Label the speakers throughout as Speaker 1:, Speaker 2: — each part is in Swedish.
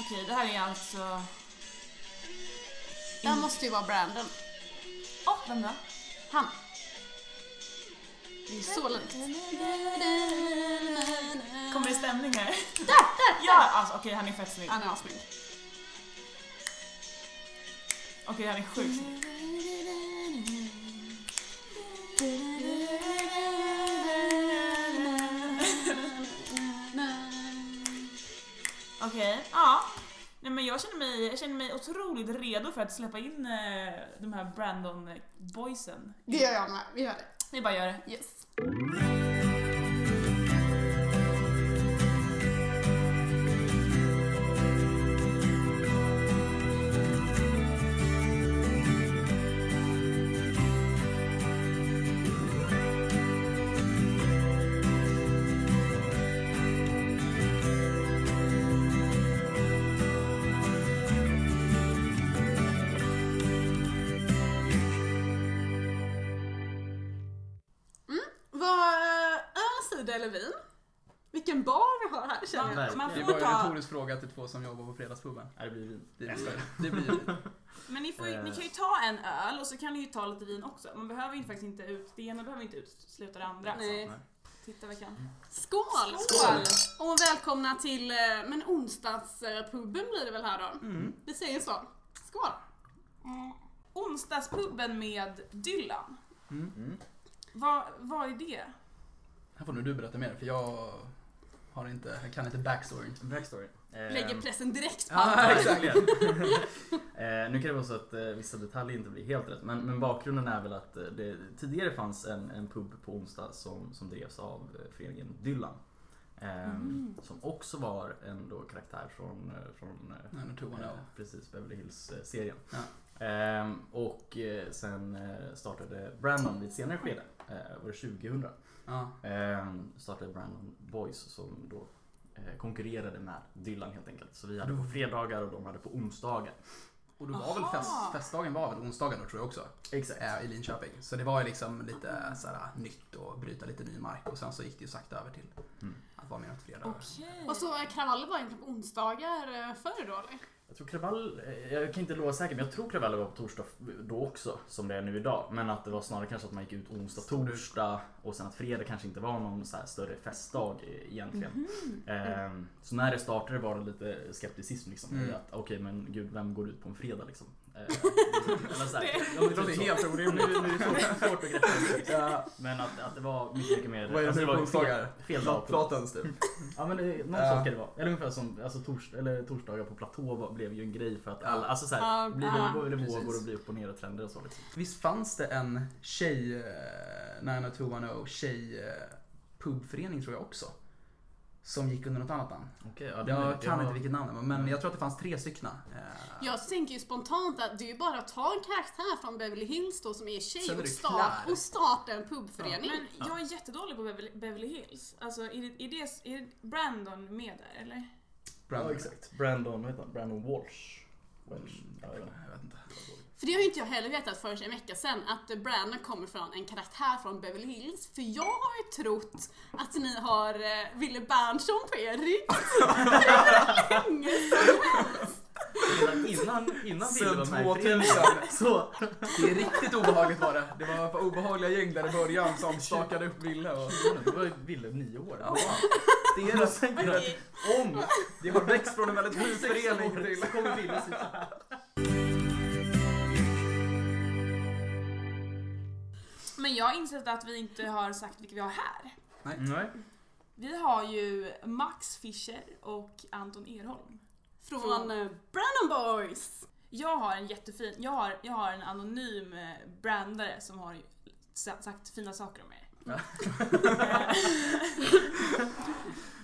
Speaker 1: Okej, det här är alltså...
Speaker 2: Det här måste ju vara Brandon.
Speaker 1: Åh, vem då?
Speaker 2: Han. Det är så likt.
Speaker 1: Kommer i stämning här.
Speaker 2: Där, där!
Speaker 1: Ja, alltså okej han är fett snygg.
Speaker 2: Han är assnygg.
Speaker 1: Okej han är sjukt snygg. Okej, ja. Nej men jag känner, mig, jag känner mig otroligt redo för att släppa in eh, de här Brandon-boysen.
Speaker 2: Det gör jag med, vi gör det.
Speaker 1: Vi bara gör det.
Speaker 2: Yes. Vad är cider eller vin? Vilken bar vi har här känner jag.
Speaker 3: Verkligen.
Speaker 1: Man
Speaker 3: Det
Speaker 4: Det
Speaker 1: får
Speaker 4: var ju en
Speaker 1: ta...
Speaker 4: retorisk fråga till två som jobbar på Fredagspuben.
Speaker 3: Nej, det blir vin.
Speaker 4: Det blir, det blir
Speaker 1: Men ni, får ju,
Speaker 3: Eh.
Speaker 1: ni kan ju ta en öl och så kan ni ju ta lite vin också. Man behöver ju faktiskt inte ut... Det ena behöver inte utesluta det andra.
Speaker 2: Nej.
Speaker 1: Så, titta vad jag kan.
Speaker 2: Skål!
Speaker 1: Skål!
Speaker 2: Och välkomna till, eh, men onsdagspuben blir det väl här då?
Speaker 1: Mm.
Speaker 4: Mm.
Speaker 2: Vi säger så. Skål!
Speaker 1: Onsdagspubben med Dylan.
Speaker 4: Mm.
Speaker 1: Vad, vad är det?
Speaker 4: Här får nu du berätta mer för jag har inte, jag kan inte backstoryn.
Speaker 3: Backstory. Ehm,
Speaker 2: Lägger pressen direkt på
Speaker 3: Ja,
Speaker 2: andra.
Speaker 3: exakt. eh, nu kan det vara så att eh, vissa detaljer inte blir helt rätt. Men, men bakgrunden är väl att eh, det tidigare fanns en, en pub på onsdag som, som drevs av eh, föreningen Dylan. Ehm,
Speaker 1: Mm.
Speaker 3: Som också var en då karaktär från, eh, från eh,
Speaker 4: Nej, nu tog han
Speaker 3: Eh,
Speaker 4: av.
Speaker 3: Precis, Beverly Hills-serien.
Speaker 4: Ja.
Speaker 3: Ehm, och eh, sen eh, startade Brandon vid ett senare skede, eh, var det 2000?
Speaker 4: Ja.
Speaker 3: Ehm, startade Brandon Boys som då eh, konkurrerade med Dylan helt enkelt. Så vi hade på fredagar och de hade på onsdagar.
Speaker 4: Och då var väl fest,
Speaker 1: Aha.
Speaker 4: festdagen var väl onsdagen då tror jag också.
Speaker 3: Exakt.
Speaker 4: eh, i Linköping. Så det var ju liksom lite såhär nytt och bryta lite ny mark och sen så gick det ju sakta över till
Speaker 3: Mm.
Speaker 4: att vara mer åt fredag.
Speaker 1: Okej.
Speaker 2: Och så eh, kravaller var egentligen på onsdagar eh, förr då eller?
Speaker 3: Jag tror Kravall, eh, jag kan inte lova säkert, men jag tror Kravall var på torsdag då också som det är nu idag. Men att det var snarare kanske att man gick ut onsdag, torsdag och sen att fredag kanske inte var någon så här större festdag eh, egentligen.
Speaker 4: Mhm.
Speaker 3: Ehm, Så när det startade var det lite skepticism liksom.
Speaker 4: Mm.
Speaker 3: i Att, Okej men gud, vem går ut på en fredag liksom? Ehm, Eller så här, ja, men
Speaker 4: Det
Speaker 3: typ
Speaker 4: låter
Speaker 3: så.
Speaker 4: helt orimligt.
Speaker 3: Nu, nu är det svårt, svårt att greppa. Liksom. Men att, att det var mycket, mycket mer... alltså,
Speaker 4: Vad är Alltså, det nu
Speaker 3: var
Speaker 4: på
Speaker 3: ju
Speaker 4: onsdagar?
Speaker 3: Fel, fel dag. på-
Speaker 4: Platens typ.
Speaker 3: Ja men det, någon
Speaker 4: Ja.
Speaker 3: sak ska det vara. Eller ungefär som alltså, tors, eller torsdagar på platå var, blev ju en grej för att alla, alltså
Speaker 2: Ja,
Speaker 3: såhär, blir
Speaker 2: ja,
Speaker 3: det vågor eller vågor
Speaker 4: precis.
Speaker 3: och blir upp och ner och trender och så liksom.
Speaker 4: Visst fanns det en tjej, eh, 90210, tjej eh, pubförening tror jag också. Som gick under något annat namn.
Speaker 3: Okej, ja, det-
Speaker 4: Jag
Speaker 3: det
Speaker 4: kan
Speaker 3: var-
Speaker 4: inte vilket namn det var men jag tror att det fanns tre stycken. Eh,
Speaker 2: Jag tänker ju spontant att det är ju bara att ta en karaktär från Beverly Hills då som är
Speaker 4: Sen
Speaker 2: tjej
Speaker 4: är
Speaker 2: och,
Speaker 4: det
Speaker 2: start,
Speaker 4: klar.
Speaker 2: och starta en pubförening.
Speaker 1: Men jag är jättedålig på Beverly, Beverly Hills. Alltså är det, är det är Brandon med där eller?
Speaker 4: Brandon.
Speaker 3: Ja, exakt. Brandon, vad heter han? Brandon Walsh. Walsh. Ja, jag vet inte.
Speaker 4: Mm, Jag vet inte.
Speaker 2: För det har ju inte jag heller vetat förrän en vecka sedan att Brandon kommer från en karaktär från Beverly Hills. För jag har ju trott att ni har eh, Wille Berntsson på er rygg. Hur länge sedan?
Speaker 3: Innan, innan, innan Ville var
Speaker 4: Sen
Speaker 3: med i föreningen
Speaker 4: 2000.
Speaker 3: så...
Speaker 4: Det är riktigt obehagligt var det. Det var ett par obehagliga gäng där i början som stakade upp Ville och...
Speaker 3: Då var ju Ville nio år.
Speaker 4: Ja, det är det.
Speaker 3: tänker jag att om
Speaker 4: Det har växt från en väldigt sjuk
Speaker 3: sex
Speaker 4: förening
Speaker 3: år
Speaker 4: till...
Speaker 3: så kommer Ville sitta här.
Speaker 1: Men jag har insett att vi inte har sagt vilka vi har här.
Speaker 3: Nej.
Speaker 1: Vi har ju Max Fischer och Anton Erholm.
Speaker 2: Från eh, Brandon Boys.
Speaker 1: Jag har en jättefin, jag har, jag har en anonym eh, brandare som har ju sa- sagt fina saker om er.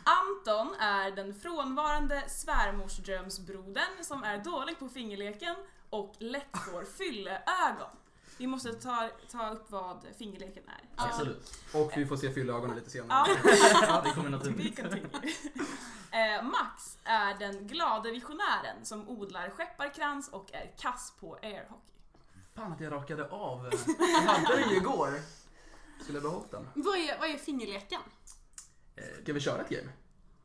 Speaker 1: Anton är den frånvarande svärmorsdrömsbrodern som är dålig på fingerleken och lätt får fylleögon. Vi måste ta, ta upp vad fingerleken är.
Speaker 3: Absolut.
Speaker 4: Och vi får se fyllögonen lite senare.
Speaker 1: Ja,
Speaker 3: Det kommer naturligt.
Speaker 1: vi continue. Eh, Max är den glade visionären som odlar skepparkrans och är kass på airhockey.
Speaker 4: Fan att jag rakade av. eh, Jag hade den ju igår. Skulle jag behållit den.
Speaker 2: Vad är, vad är fingerleken?
Speaker 4: Ska vi köra ett game?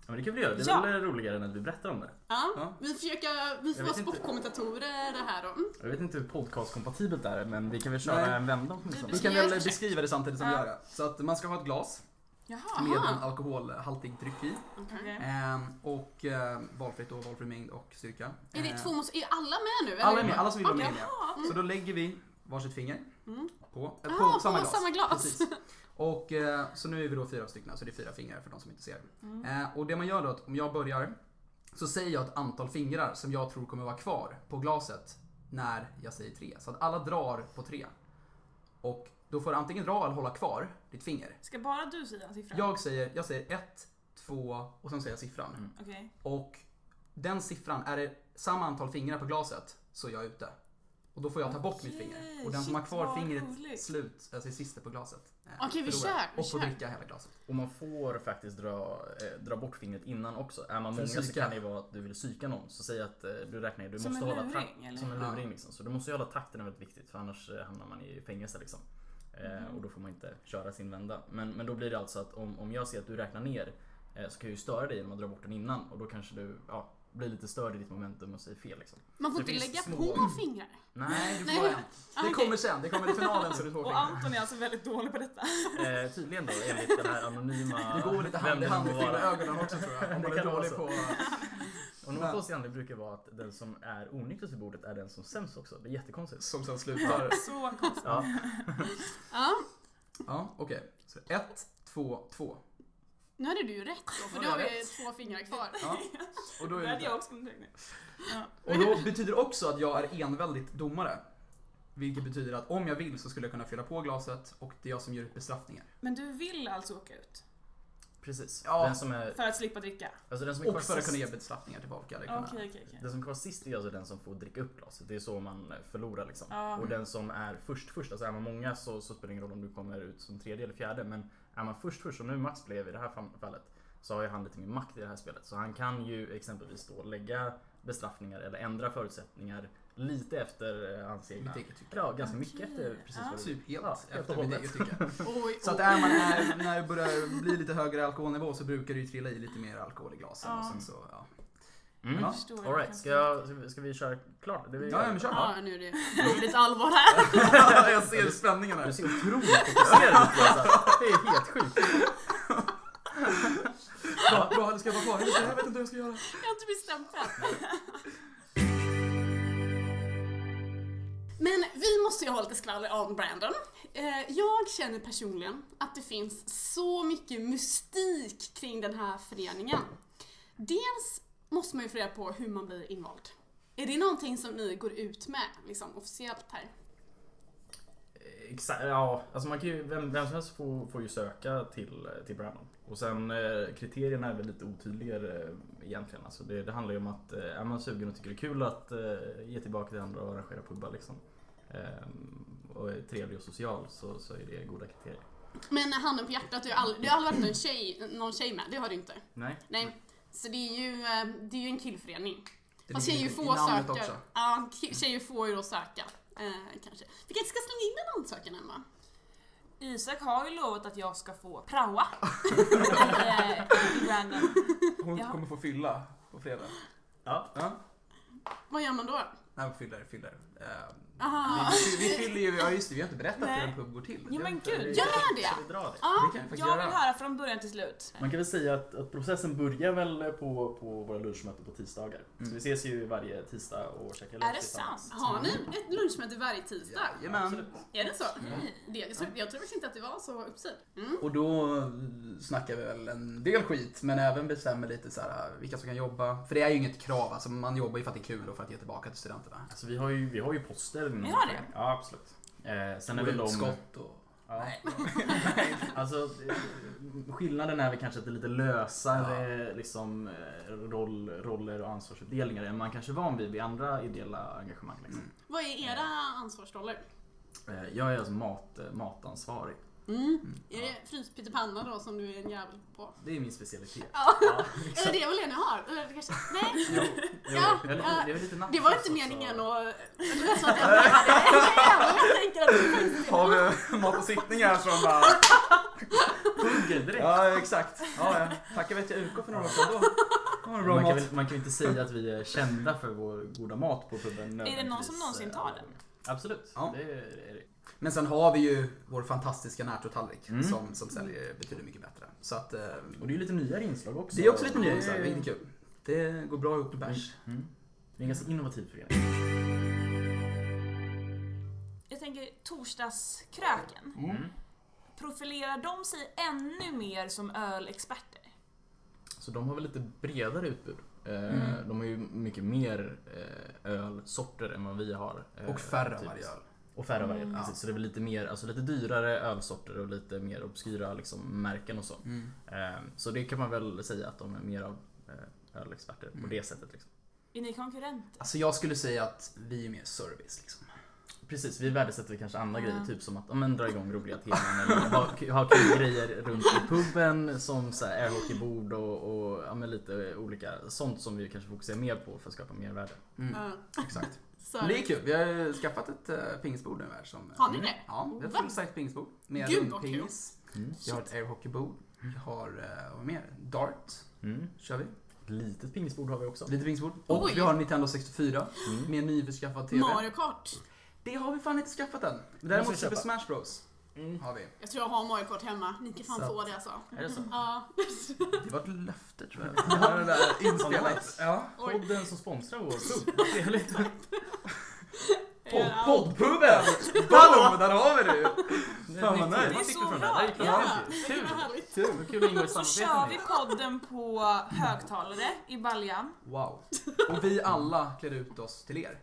Speaker 3: men det kan vi göra. Det är
Speaker 1: Ja.
Speaker 3: väl roligare än att vi berättar om det.
Speaker 2: Ja,
Speaker 4: Ja.
Speaker 2: vi försöker, vi får
Speaker 3: Jag
Speaker 2: vara
Speaker 3: vet inte.
Speaker 2: sportkommentatorer det här då. Mm.
Speaker 3: Jag vet inte hur podcastkompatibelt det är men vi kan väl köra
Speaker 4: Nej.
Speaker 3: en vända åtminstone.
Speaker 4: Vi kan
Speaker 2: Jag
Speaker 4: väl
Speaker 2: försöker.
Speaker 4: beskriva det samtidigt som vi
Speaker 1: Ja.
Speaker 4: gör det. Så att man ska ha ett glas
Speaker 2: Jaha.
Speaker 4: med en alkoholhaltig dryck i.
Speaker 2: Okej.
Speaker 4: Ehm, och eh, valfritt då, valfri mängd och styrka.
Speaker 2: Är det
Speaker 4: Ehm,
Speaker 2: två måste, är alla med nu? eller?
Speaker 4: Alla är med, alla som vill vara med är
Speaker 2: Okej.
Speaker 4: med.
Speaker 1: Ja.
Speaker 4: Så då lägger vi varsitt finger
Speaker 2: Mm.
Speaker 4: på, äh,
Speaker 2: Ah,
Speaker 4: på
Speaker 2: på
Speaker 4: samma glas.
Speaker 2: samma glas.
Speaker 4: Precis. Och eh, så nu är vi då fyra stycken, så det är fyra fingrar för de som inte ser.
Speaker 2: Mm.
Speaker 4: Eh, och det man gör då är att om jag börjar så säger jag ett antal fingrar som jag tror kommer vara kvar på glaset när jag säger tre. Så att alla drar på tre. Och då får du antingen dra eller hålla kvar ditt finger.
Speaker 1: Ska bara du säga en siffra?
Speaker 4: Jag säger, jag säger ett, två och sen säger jag siffran.
Speaker 3: Mm.
Speaker 1: Okej.
Speaker 4: Och den siffran, är det samma antal fingrar på glaset så är jag ute. Och då får jag ta bort mitt
Speaker 1: Okej,
Speaker 4: finger. Och den som har
Speaker 1: shit,
Speaker 4: kvar
Speaker 1: vad
Speaker 4: fingret
Speaker 1: roligt.
Speaker 4: slut, alltså sista på glaset. eh,
Speaker 2: Okej, vi
Speaker 4: förlorar.
Speaker 2: kör, vi
Speaker 4: Och får
Speaker 2: kör.
Speaker 4: dricka hela glaset.
Speaker 3: Och man får faktiskt dra, eh, dra bort fingret innan också. Är man
Speaker 4: För
Speaker 3: många så
Speaker 4: psyka.
Speaker 3: kan det ju vara att du vill psyka någon. Så säg att eh, du räknar ju, du
Speaker 1: Som
Speaker 3: måste
Speaker 1: en
Speaker 3: hålla
Speaker 1: luring,
Speaker 3: takt-
Speaker 1: eller?
Speaker 3: Som en
Speaker 4: Ja.
Speaker 3: luring liksom. Så du måste ju hålla takten är väldigt viktigt för annars eh, hamnar man i fängelse liksom.
Speaker 1: Mhm.
Speaker 3: Eh, och då får man inte köra sin vända. Men, men då blir det alltså att om, om jag ser att du räknar ner eh, så kan jag ju störa dig genom att dra bort den innan och då kanske du ja, blir lite störd i ditt momentum och säger fel liksom.
Speaker 2: Man får
Speaker 3: Det
Speaker 2: inte
Speaker 3: finns
Speaker 2: lägga
Speaker 3: små-
Speaker 2: på fingrar.
Speaker 3: Nej,
Speaker 4: Du
Speaker 2: Nej,
Speaker 4: får
Speaker 2: hur-
Speaker 4: en.
Speaker 2: Ah,
Speaker 4: Det
Speaker 2: okej.
Speaker 4: kommer sen, det kommer i finalen så du får
Speaker 1: Och
Speaker 4: fingrar.
Speaker 1: Anton är alltså väldigt dålig på detta.
Speaker 3: eh, tydligen då enligt den här anonyma...
Speaker 4: Det går lite hand i
Speaker 3: vem det
Speaker 4: hand
Speaker 3: nu
Speaker 4: med
Speaker 3: må vara.
Speaker 4: fingerögonen också tror jag. Om
Speaker 3: Det
Speaker 4: man är
Speaker 3: kan vara
Speaker 4: dålig
Speaker 3: så.
Speaker 4: på...
Speaker 3: Och något konstig anledning brukar vara att den som är onykter till bordet är den som sämst också. Det är jättekonstigt.
Speaker 4: Som sen slutar.
Speaker 1: Så konstigt.
Speaker 3: Ja.
Speaker 2: Ja,
Speaker 4: Ja, okej. Så ett, två, två.
Speaker 2: nu hade du ju rätt då, för
Speaker 4: Ja,
Speaker 2: nu
Speaker 4: jag
Speaker 2: har vi
Speaker 4: vet.
Speaker 2: två fingrar kvar.
Speaker 4: Ja. Och då är
Speaker 1: Det
Speaker 4: det
Speaker 1: hade jag
Speaker 4: där.
Speaker 1: också kunnat räkna ut.
Speaker 4: Och då betyder det också att jag är enväldigt domare. Vilket betyder att om jag vill så skulle jag kunna fylla på glaset och det är jag som ger ut bestraffningar.
Speaker 1: Men du vill alltså åka ut?
Speaker 3: Precis.
Speaker 4: Ja.
Speaker 3: Den som är,
Speaker 1: För att slippa dricka?
Speaker 3: alltså den som är kvar
Speaker 4: Och för att kunna
Speaker 3: sist,
Speaker 4: ge bestraffningar tillbaka. Eller
Speaker 1: Okej,
Speaker 4: kunna...
Speaker 1: okej, okej.
Speaker 3: den som är kvar sist är alltså den som får dricka upp glaset. Det är så man förlorar liksom.
Speaker 1: Ja.
Speaker 3: Och den som är först först, alltså är man många så, så spelar det ingen roll om du kommer ut som tredje eller fjärde. Men är man först först, som nu Max blev i det här fam- fallet, så har ju han lite mer makt i det här spelet. Så han kan ju exempelvis då lägga bestraffningar eller ändra förutsättningar lite efter eh, hans egna...
Speaker 4: Mitt eget tycke.
Speaker 3: Ja, ganska mycket
Speaker 1: Okej.
Speaker 3: efter precis
Speaker 1: Ja.
Speaker 3: vad du
Speaker 4: Typ helt
Speaker 3: Ja, helt och
Speaker 4: efter mitt
Speaker 3: hållet.
Speaker 4: eget tycke.
Speaker 2: Oj,
Speaker 4: Så att
Speaker 2: oj.
Speaker 4: är man när, när det börjar bli lite högre alkoholnivå så brukar det ju trilla i lite mer alkohol i glasen. Och
Speaker 1: Ja.
Speaker 4: sen så, ja.
Speaker 3: Mm.
Speaker 1: Jag förstår
Speaker 3: All right.
Speaker 1: kanske
Speaker 3: ska, jag, ska, vi, ska vi köra klart? Det är vi-
Speaker 4: Ja, ja, men kör.
Speaker 2: Ja, nu är det nu är det lite allvar här.
Speaker 4: jag ser spänningen
Speaker 3: Du
Speaker 4: här.
Speaker 3: ser otroligt fokuserad ut. Lisa. Det är helt sjukt.
Speaker 4: Bra, bra, du ska vara kvar. Jag vet inte hur jag ska göra.
Speaker 2: Jag har inte bestämt än. Men vi måste ju ha lite skvaller om Brandon. Eh, Jag känner personligen att det finns så mycket mystik kring den här föreningen. Dels måste man ju få reda på hur man blir invald. Är det någonting som ni går ut med liksom, officiellt här?
Speaker 3: Exakt, ja. Alltså man kan ju, vem, vem som helst får, får ju söka till, till Brandon. Och sen eh, kriterierna är väl lite otydligare eh, egentligen. Alltså det, det handlar ju om att eh, är man sugen och tycker det är kul att eh, ge tillbaka till andra och arrangera pubbar liksom. Ehm, och är trevlig och social så, så är det goda kriterier.
Speaker 2: Men handen på hjärtat, du har aldrig, du har aldrig varit en tjej, någon tjej med, det har du inte.
Speaker 3: Nej.
Speaker 2: Nej, så det är ju, eh, det är ju en killförening.
Speaker 4: Det
Speaker 2: Fast
Speaker 4: ligger
Speaker 2: tjejer
Speaker 4: i
Speaker 2: får
Speaker 4: namnet
Speaker 2: söka.
Speaker 4: också.
Speaker 2: Ja, ki- tjejer får ju då söka. Eh, kanske. Vi kanske ska slänga in en ansökan Emma?
Speaker 1: Isak har ju lovat att jag ska få praoa. I, eh, i Brandon.
Speaker 4: Hon
Speaker 1: Ja.
Speaker 4: kommer få fylla på fredag.
Speaker 3: Ja.
Speaker 4: Ja.
Speaker 2: Vad gör man då?
Speaker 4: Nej, men fyller, fyller. Ehm,
Speaker 2: Aha.
Speaker 4: vi, vi fyller ju, ja just det, vi har inte berättat hur
Speaker 1: Ah. Nej.
Speaker 4: en pub går till.
Speaker 1: Ja, men gud.
Speaker 3: Ska
Speaker 2: Gör
Speaker 3: vi-
Speaker 2: det!
Speaker 3: Ska vi dra det?
Speaker 2: Ja,
Speaker 4: Det kan vi faktiskt
Speaker 1: Jag vill
Speaker 4: göra.
Speaker 1: höra från början till slut.
Speaker 3: Man kan väl säga att, att processen börjar väl på, på våra lunchmöten på tisdagar. Så
Speaker 4: Mm.
Speaker 3: vi ses ju varje tisdag och käkar lunch
Speaker 1: Är det sant?
Speaker 3: tillsammans.
Speaker 2: har ni ett lunchmöte varje tisdag?
Speaker 4: Jajamän.
Speaker 2: Är det så?
Speaker 4: Mm.
Speaker 2: Det, jag, tror, jag tror faktiskt inte att det var så uppsyn. Mm.
Speaker 4: Och då eh, snackar vi väl en del skit, men även bestämmer lite så här, eh, vilka som kan jobba. För det är ju inget krav, alltså man jobbar ju för att det är kul och för att ge tillbaka till studenterna.
Speaker 3: Alltså vi har ju, vi har ju poster.
Speaker 1: Ni har det?
Speaker 3: Ja, absolut. Eh, sen är
Speaker 4: Och
Speaker 3: väl de...
Speaker 4: utskott och...
Speaker 3: Ja.
Speaker 4: Nej.
Speaker 3: Alltså, eh, skillnaden är väl kanske att det är lite lösare liksom, eh, roll, roller och ansvarsuppdelningar än man kanske är van vid vid andra ideella engagemang. Liksom.
Speaker 2: Vad är era ansvarsroller?
Speaker 3: Eh, jag är alltså mat, eh, matansvarig.
Speaker 2: Mm. Är det fryst pyttipanna då som du är en jävel på?
Speaker 3: Det är min specialitet.
Speaker 2: Ja.
Speaker 3: Ja,
Speaker 2: Eller det är väl det ni har? Eller det kanske, nej,
Speaker 3: Jo, jo,
Speaker 2: Ja,
Speaker 3: jag är lite-
Speaker 2: ja.
Speaker 3: jag är lite
Speaker 2: det
Speaker 3: nattchef
Speaker 2: var inte
Speaker 3: också.
Speaker 2: meningen att... Det var så att jag jag tänker att det är
Speaker 4: Har vi mattesittningar som bara...
Speaker 3: hugger direkt.
Speaker 4: Ja, exakt. Ja, ja. Tacka vet jag UK för några år sedan. Då då var det bra
Speaker 3: Man kan,
Speaker 4: mat.
Speaker 3: väl, man kan ju inte säga att vi är kända för vår goda mat på puben.
Speaker 1: det någon som
Speaker 3: nödvändigtvis. eh,
Speaker 1: någonsin tar den?
Speaker 3: Absolut.
Speaker 4: Ja.
Speaker 3: Det är det.
Speaker 4: Men sen har vi ju vår fantastiska närtotallrik
Speaker 3: Mm.
Speaker 4: som, som säljer betydligt mycket bättre. Så att, eh,
Speaker 3: Och det är ju lite nyare inslag också.
Speaker 4: det är också lite nya inslag,
Speaker 3: Mm.
Speaker 4: vilket är kul. Det går bra ihop med bärs.
Speaker 3: Mm. Det är en ganska innovativ förening.
Speaker 1: Jag tänker torsdagskröken.
Speaker 3: Mm.
Speaker 1: Profilerar de sig ännu mer som ölexperter?
Speaker 5: Så de har väl lite bredare utbud. Eh,
Speaker 1: Mm.
Speaker 5: De har ju mycket mer eh, ölsorter än vad vi har. eh,
Speaker 4: Och färre av
Speaker 5: typ.
Speaker 4: varje öl.
Speaker 5: Och färre av varje öl,
Speaker 1: Mm.
Speaker 5: precis. Så det är väl lite mer, alltså lite dyrare ölsorter och lite mer obskyra liksom, märken och så.
Speaker 4: Mm.
Speaker 5: Eh, Så det kan man väl säga att de är mer av eh, ölexperter på
Speaker 4: Mm.
Speaker 5: det sättet. Liksom.
Speaker 1: Är ni konkurrenter?
Speaker 4: Alltså jag skulle säga att vi är mer service liksom.
Speaker 5: Precis, vi värdesätter kanske andra
Speaker 1: Ja.
Speaker 5: grejer, typ som att ja, men, dra igång roliga teman eller ha, ha kul grejer runt i puben som så här, airhockeybord och, och ja, men, lite olika sånt som vi kanske fokuserar mer på för att skapa mer värde.
Speaker 4: Mm,
Speaker 2: Ja,
Speaker 4: Exakt.
Speaker 2: så.
Speaker 4: Men det är kul. Vi har ju skaffat ett äh, pingisbord nu här. Som,
Speaker 2: Har ni det?
Speaker 4: Ja, vi har ett
Speaker 2: Va?
Speaker 4: fullsized pingisbord. Med
Speaker 2: Gud, vad
Speaker 4: pingis.
Speaker 5: Mm.
Speaker 4: Vi har ett airhockeybord. Vi har, eh, vad mer? Dart
Speaker 5: Mm.
Speaker 4: kör vi.
Speaker 5: Ett litet pingisbord har vi också.
Speaker 4: Lite pingisbord. Och
Speaker 2: Oj.
Speaker 4: vi har en Nintendo 64
Speaker 5: Mm.
Speaker 4: med nyförskaffad TV.
Speaker 2: Mario Kart.
Speaker 4: Det har vi fan inte skaffat än.
Speaker 3: Måste
Speaker 4: Däremot
Speaker 3: vi
Speaker 4: Super
Speaker 3: köpa.
Speaker 4: Smash Bros har vi.
Speaker 2: Jag tror jag har Mario Kart hemma. Ni kan fan
Speaker 4: Så.
Speaker 2: få det alltså.
Speaker 5: Är det så?
Speaker 2: Ja.
Speaker 4: Det var ett löfte tror jag. Vi har det där inspelat. Ja.
Speaker 2: Oj.
Speaker 5: Podden som sponsrar vår pub, vad trevligt.
Speaker 2: Ja.
Speaker 4: Poddpuben! Hallå, där har vi det ju! Fan vad
Speaker 1: Det
Speaker 4: nice.
Speaker 1: är
Speaker 5: Vad fick vi
Speaker 1: så
Speaker 5: från
Speaker 1: bra!
Speaker 5: Det Det är
Speaker 1: Ja.
Speaker 5: kul.
Speaker 2: Det var härligt.
Speaker 5: Kul! Kul att ingå i
Speaker 1: Så kör vi
Speaker 5: samarbete
Speaker 1: podden på högtalare i baljan.
Speaker 4: Wow. Och vi alla klär ut oss till er.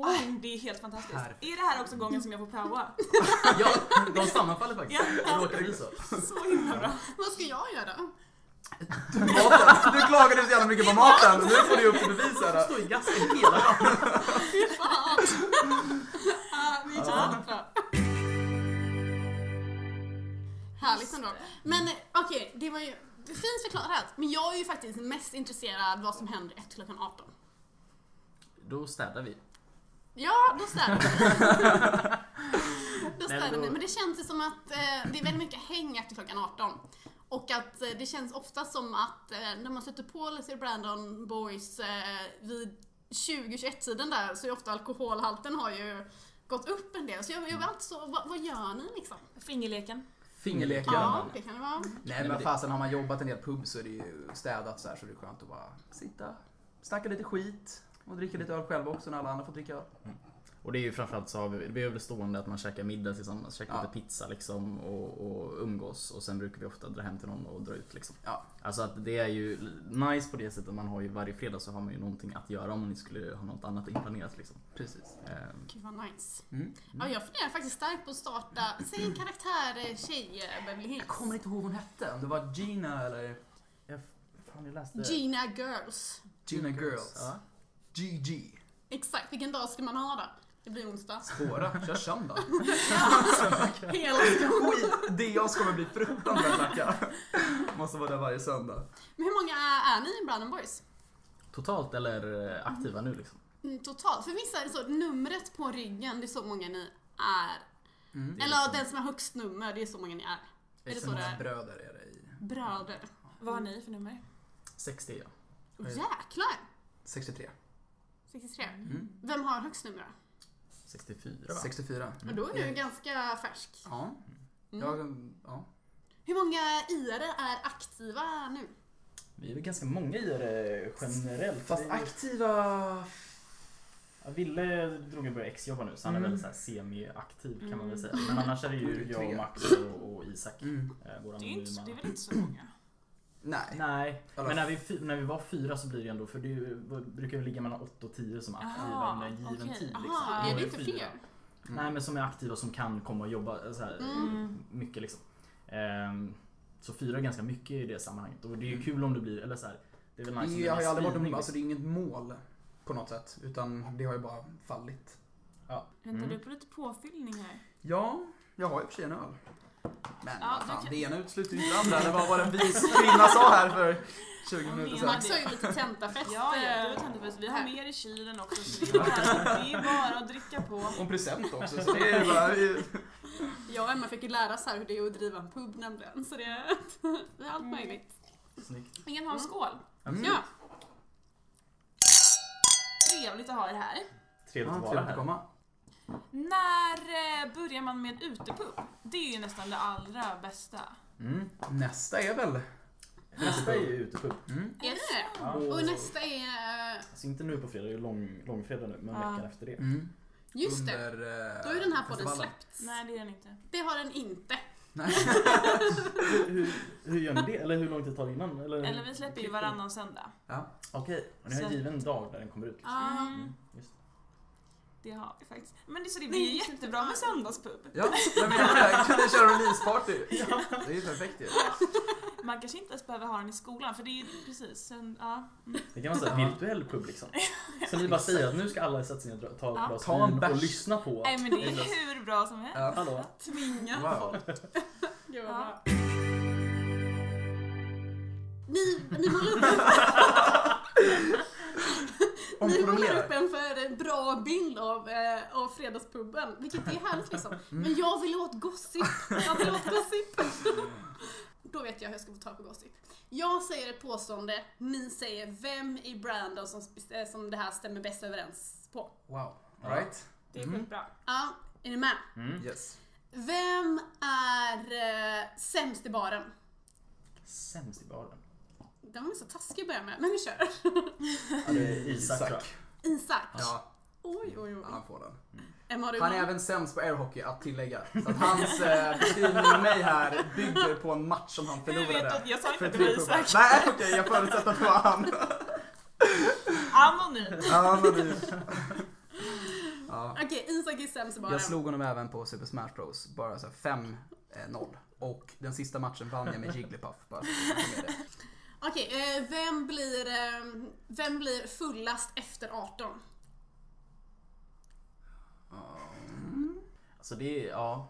Speaker 1: Oj, det är helt fantastiskt.
Speaker 4: Perfekt.
Speaker 1: Är det här också gången som jag får praoa?
Speaker 4: Ja, de sammanfaller faktiskt.
Speaker 1: Ja,
Speaker 5: med Det råkar bli så.
Speaker 1: så himla bra.
Speaker 2: Vad ska jag göra?
Speaker 4: Maten. Du klagade så jävla mycket på maten. Nu får du upp till bevis här.
Speaker 3: Står i gasken hela
Speaker 2: Fan! Ja, det gick så väldigt bra. Härligt ändå. Men eh, okej, det var ju det är fint förklarat. Men jag är ju faktiskt mest intresserad vad som händer efter klockan 18.
Speaker 5: Då städar vi.
Speaker 2: Ja, då städar vi. då
Speaker 5: Nej,
Speaker 2: städar
Speaker 5: men
Speaker 2: vi.
Speaker 5: då-
Speaker 2: Men det känns ju som att eh, det är väldigt mycket häng efter klockan 18. Och att eh, det känns ofta som att eh, när man sätter på Lizzie Brandon Boys eh, vid 20-21-tiden där så är ofta alkoholhalten har ju gått upp en del. Så jag, jag vill alltid så, vad, vad gör ni liksom?
Speaker 1: Fingerleken.
Speaker 4: Fingerleken.
Speaker 2: Ja,
Speaker 4: Ja.
Speaker 2: det kan det vara.
Speaker 4: Nej men vad fasen, har man jobbat en del pub så är det ju städat så här så det är skönt att bara sitta, snacka lite skit och dricka lite öl själv också när alla andra får dricka öl.
Speaker 5: Och det är ju framförallt så har vi, det är väl stående att man käkar middag tillsammans, käkar
Speaker 4: Ja.
Speaker 5: lite pizza liksom och, och umgås och sen brukar vi ofta dra hem till någon och dra ut liksom.
Speaker 4: Ja.
Speaker 5: Alltså att det är ju nice på det sättet att man har ju varje fredag så har man ju någonting att göra om man skulle ha något annat inplanerat liksom.
Speaker 4: Precis.
Speaker 5: Ehm,
Speaker 2: Gud vad nice.
Speaker 4: Mm.
Speaker 2: Ja, jag funderar faktiskt starkt på att starta, säg en karaktär eh, tjej eh, Beverly Hills.
Speaker 4: Jag kommer inte ihåg vad hon hette, om det var Gina eller
Speaker 3: Jag, fan, jag läste...
Speaker 2: Gina Girls.
Speaker 4: Gina Girls.
Speaker 3: Ja.
Speaker 4: GG.
Speaker 2: Exakt, vilken dag ska man ha då? Det blir onsdag.
Speaker 4: Spåra, kör söndag.
Speaker 2: Hela stan.
Speaker 4: Skit, DAs kommer bli fruktansvärt lacka. Måste vara där varje söndag.
Speaker 2: Men hur många är ni i Brandon Boys?
Speaker 5: Totalt eller eh, aktiva nu liksom.
Speaker 2: Mm, Totalt? För vissa är det så, numret på ryggen, det är så många ni är. liksom-
Speaker 4: Mm.
Speaker 2: Eller
Speaker 5: liksom
Speaker 2: den som har högst nummer, det är så många ni är. Är det så det
Speaker 4: många
Speaker 2: är?
Speaker 4: bröder är det i?
Speaker 2: Bröder.
Speaker 1: Vad har ni för nummer?
Speaker 5: 60 ja.
Speaker 2: Åh, Jäklar!
Speaker 4: 63.
Speaker 2: 63.
Speaker 4: Mm.
Speaker 2: Vem har högst nummer då?
Speaker 5: 64 va?
Speaker 4: 64.
Speaker 2: Och då är du
Speaker 4: Mm.
Speaker 2: ganska färsk.
Speaker 4: Ja.
Speaker 2: Mm.
Speaker 4: Jag, ja.
Speaker 2: Hur många IR är aktiva nu?
Speaker 3: Vi är väl ganska många i
Speaker 5: eh,
Speaker 3: det generellt.
Speaker 4: Fast
Speaker 3: Det är-
Speaker 4: aktiva...
Speaker 3: Ja, Ville drog ju börja exjobba nu så han är
Speaker 4: Mm.
Speaker 3: väl så här semi-aktiv kan man
Speaker 1: Mm.
Speaker 3: väl säga. Men annars är det
Speaker 4: Du
Speaker 3: ju
Speaker 4: är
Speaker 3: jag
Speaker 4: tre.
Speaker 3: och Max och, och Isak.
Speaker 4: Mm.
Speaker 3: eh, Våra
Speaker 1: Det är, inte,
Speaker 3: anonyma.
Speaker 1: det är väl inte så många?
Speaker 4: Nej.
Speaker 3: Nej,
Speaker 4: Alla-
Speaker 3: men när vi, fy- när vi var fyra så blir det ändå, för det är ju- brukar ju ligga mellan 8 och 10 som är aktiva
Speaker 1: Aha,
Speaker 3: under en given
Speaker 1: okej.
Speaker 3: tid. Liksom.
Speaker 2: Aha,
Speaker 3: Vi
Speaker 2: är
Speaker 3: var
Speaker 2: det
Speaker 3: ju
Speaker 2: inte
Speaker 3: fyra. Mm.
Speaker 2: fler?
Speaker 4: Mm.
Speaker 3: Nej men som är aktiva som kan komma och jobba eh, så här,
Speaker 2: Mm.
Speaker 3: mycket liksom. Ehm, så fyra är ganska mycket i det sammanhanget och det är ju kul om det blir, eller så här, det är väl nice om det
Speaker 4: Mm. Jag har
Speaker 3: blir
Speaker 4: ju aldrig varit
Speaker 3: spridning,
Speaker 4: om, alltså det är inget mål på något sätt. Utan det har ju bara fallit.
Speaker 1: Väntar
Speaker 3: Mm.
Speaker 1: du på lite påfyllning här?
Speaker 4: Ja, jag har ju i och för sig en öl. Men
Speaker 1: Ja,
Speaker 4: vad
Speaker 1: du
Speaker 4: fan,
Speaker 1: kan-
Speaker 4: det ena utesluter ju inte det andra. Eller vad var det en vis kvinna sa här för 20 minuter
Speaker 1: Ja,
Speaker 4: sen.
Speaker 2: Max har ju lite tentafest.
Speaker 1: Ja, ja, du har
Speaker 2: eh,
Speaker 1: tändfest. Vi har mer i kylen också så det är bara, det är bara att dricka på.
Speaker 4: Och en present också, så det är bara...
Speaker 2: Jag och Emma fick ju lära oss här hur det är att driva en pub nämligen. Så det är, det är allt
Speaker 1: Mm.
Speaker 2: möjligt.
Speaker 5: Snyggt.
Speaker 1: Vi kan ha en skål.
Speaker 3: liksom.
Speaker 4: Mm.
Speaker 2: Ja,
Speaker 1: Trevligt att ha er här.
Speaker 3: Trevligt
Speaker 4: Ja,
Speaker 3: att vara
Speaker 4: trevligt att
Speaker 3: här.
Speaker 4: komma.
Speaker 1: När eh, börjar man med utepub? Det är ju nästan det allra bästa.
Speaker 3: Mm.
Speaker 4: Nästa är väl...
Speaker 3: Nästa är ju utepub.
Speaker 4: Mm.
Speaker 2: är det det?
Speaker 3: Ja.
Speaker 2: Och nästa är... eh,
Speaker 3: Alltså inte nu på fredag, det är ju lång, långfredag nu, men
Speaker 1: Ja.
Speaker 3: veckan efter det.
Speaker 4: Mm.
Speaker 2: Just det,
Speaker 4: Under, eh,
Speaker 2: då är den här podden
Speaker 4: festivalen.
Speaker 2: släppts.
Speaker 1: Nej, det är den inte.
Speaker 2: Det har den inte.
Speaker 4: Nej.
Speaker 3: Hur, hur, hur gör ni det? Eller hur lång tid tar det innan? Eller,
Speaker 1: Eller vi släpper
Speaker 3: Mm.
Speaker 1: ju varannan söndag.
Speaker 3: Okej, och ni har en given dag där den kommer ut. liksom.
Speaker 2: Ja.
Speaker 1: Mm,
Speaker 3: Just. det.
Speaker 1: det har vi faktiskt. Men det, så det blir ju
Speaker 2: Nej,
Speaker 1: jättebra med
Speaker 2: inte.
Speaker 1: söndagspub.
Speaker 4: Ja, men jag menar det. Kunde köra releaseparty. Det är ju perfekt ju.
Speaker 1: Man kanske inte ens behöver ha den i skolan för det är ju precis en, ja.
Speaker 3: Det kan vara en virtuell pub liksom. Så ni bara säger att nu ska alla sätta sig ner och ta
Speaker 1: Ja.
Speaker 3: ett glas
Speaker 4: Ta en
Speaker 3: vin och
Speaker 4: bärs.
Speaker 3: lyssna på.
Speaker 1: Nej men det är ju hur bra som helst.
Speaker 4: Ja.
Speaker 3: Hallå?
Speaker 2: Tvinga
Speaker 4: Wow.
Speaker 2: folk. Gud vad
Speaker 1: Ja.
Speaker 2: bra. Ni, ni målar upp, ni målar upp
Speaker 4: Omformulerar.
Speaker 2: en för bra bild av, eh, av fredagspubben, vilket är härligt liksom.
Speaker 4: Mm.
Speaker 2: Men jag vill åt gossip. Jag vill åt gossip. Då vet jag hur jag ska få tag på gossip. Jag säger ett påstående, ni säger vem i Brandon som, eh, som det här stämmer bäst överens på.
Speaker 4: Wow. Right?
Speaker 1: Det är
Speaker 4: Mm.
Speaker 1: sjukt bra.
Speaker 2: Ja, är ni med?
Speaker 3: Mm.
Speaker 4: Yes.
Speaker 2: Vem är eh, sämst i baren?
Speaker 3: Sämst i baren.
Speaker 2: Den var så taskig att börja med, men vi kör.
Speaker 3: Ja, det är Isak tror jag.
Speaker 2: Isak.
Speaker 4: Ja,
Speaker 2: Oj, oj, oj.
Speaker 4: han får den.
Speaker 2: Emma, har du
Speaker 4: Han är
Speaker 2: någon?
Speaker 4: även sämst på airhockey att tillägga. Så att hans eh, beskrivning av mig här bygger på en match som han
Speaker 1: Du vet att
Speaker 4: förlorade.
Speaker 1: jag sa inte
Speaker 4: För
Speaker 1: att det var
Speaker 4: tre pubbar.
Speaker 1: Isak.
Speaker 4: Nej okej, jag förutsätter att det var han.
Speaker 1: Anonym.
Speaker 4: Ja, men det- ja.
Speaker 2: Okej, Isak är sämst i baren.
Speaker 4: Jag slog honom även på Super Smash Bros. Bara så här 5-0. Och den sista matchen vann jag med Jigglypuff. Bara så att jag med det.
Speaker 2: Okej, eh, vem, blir, eh, vem blir fullast efter 18?
Speaker 5: Alltså det är, ja.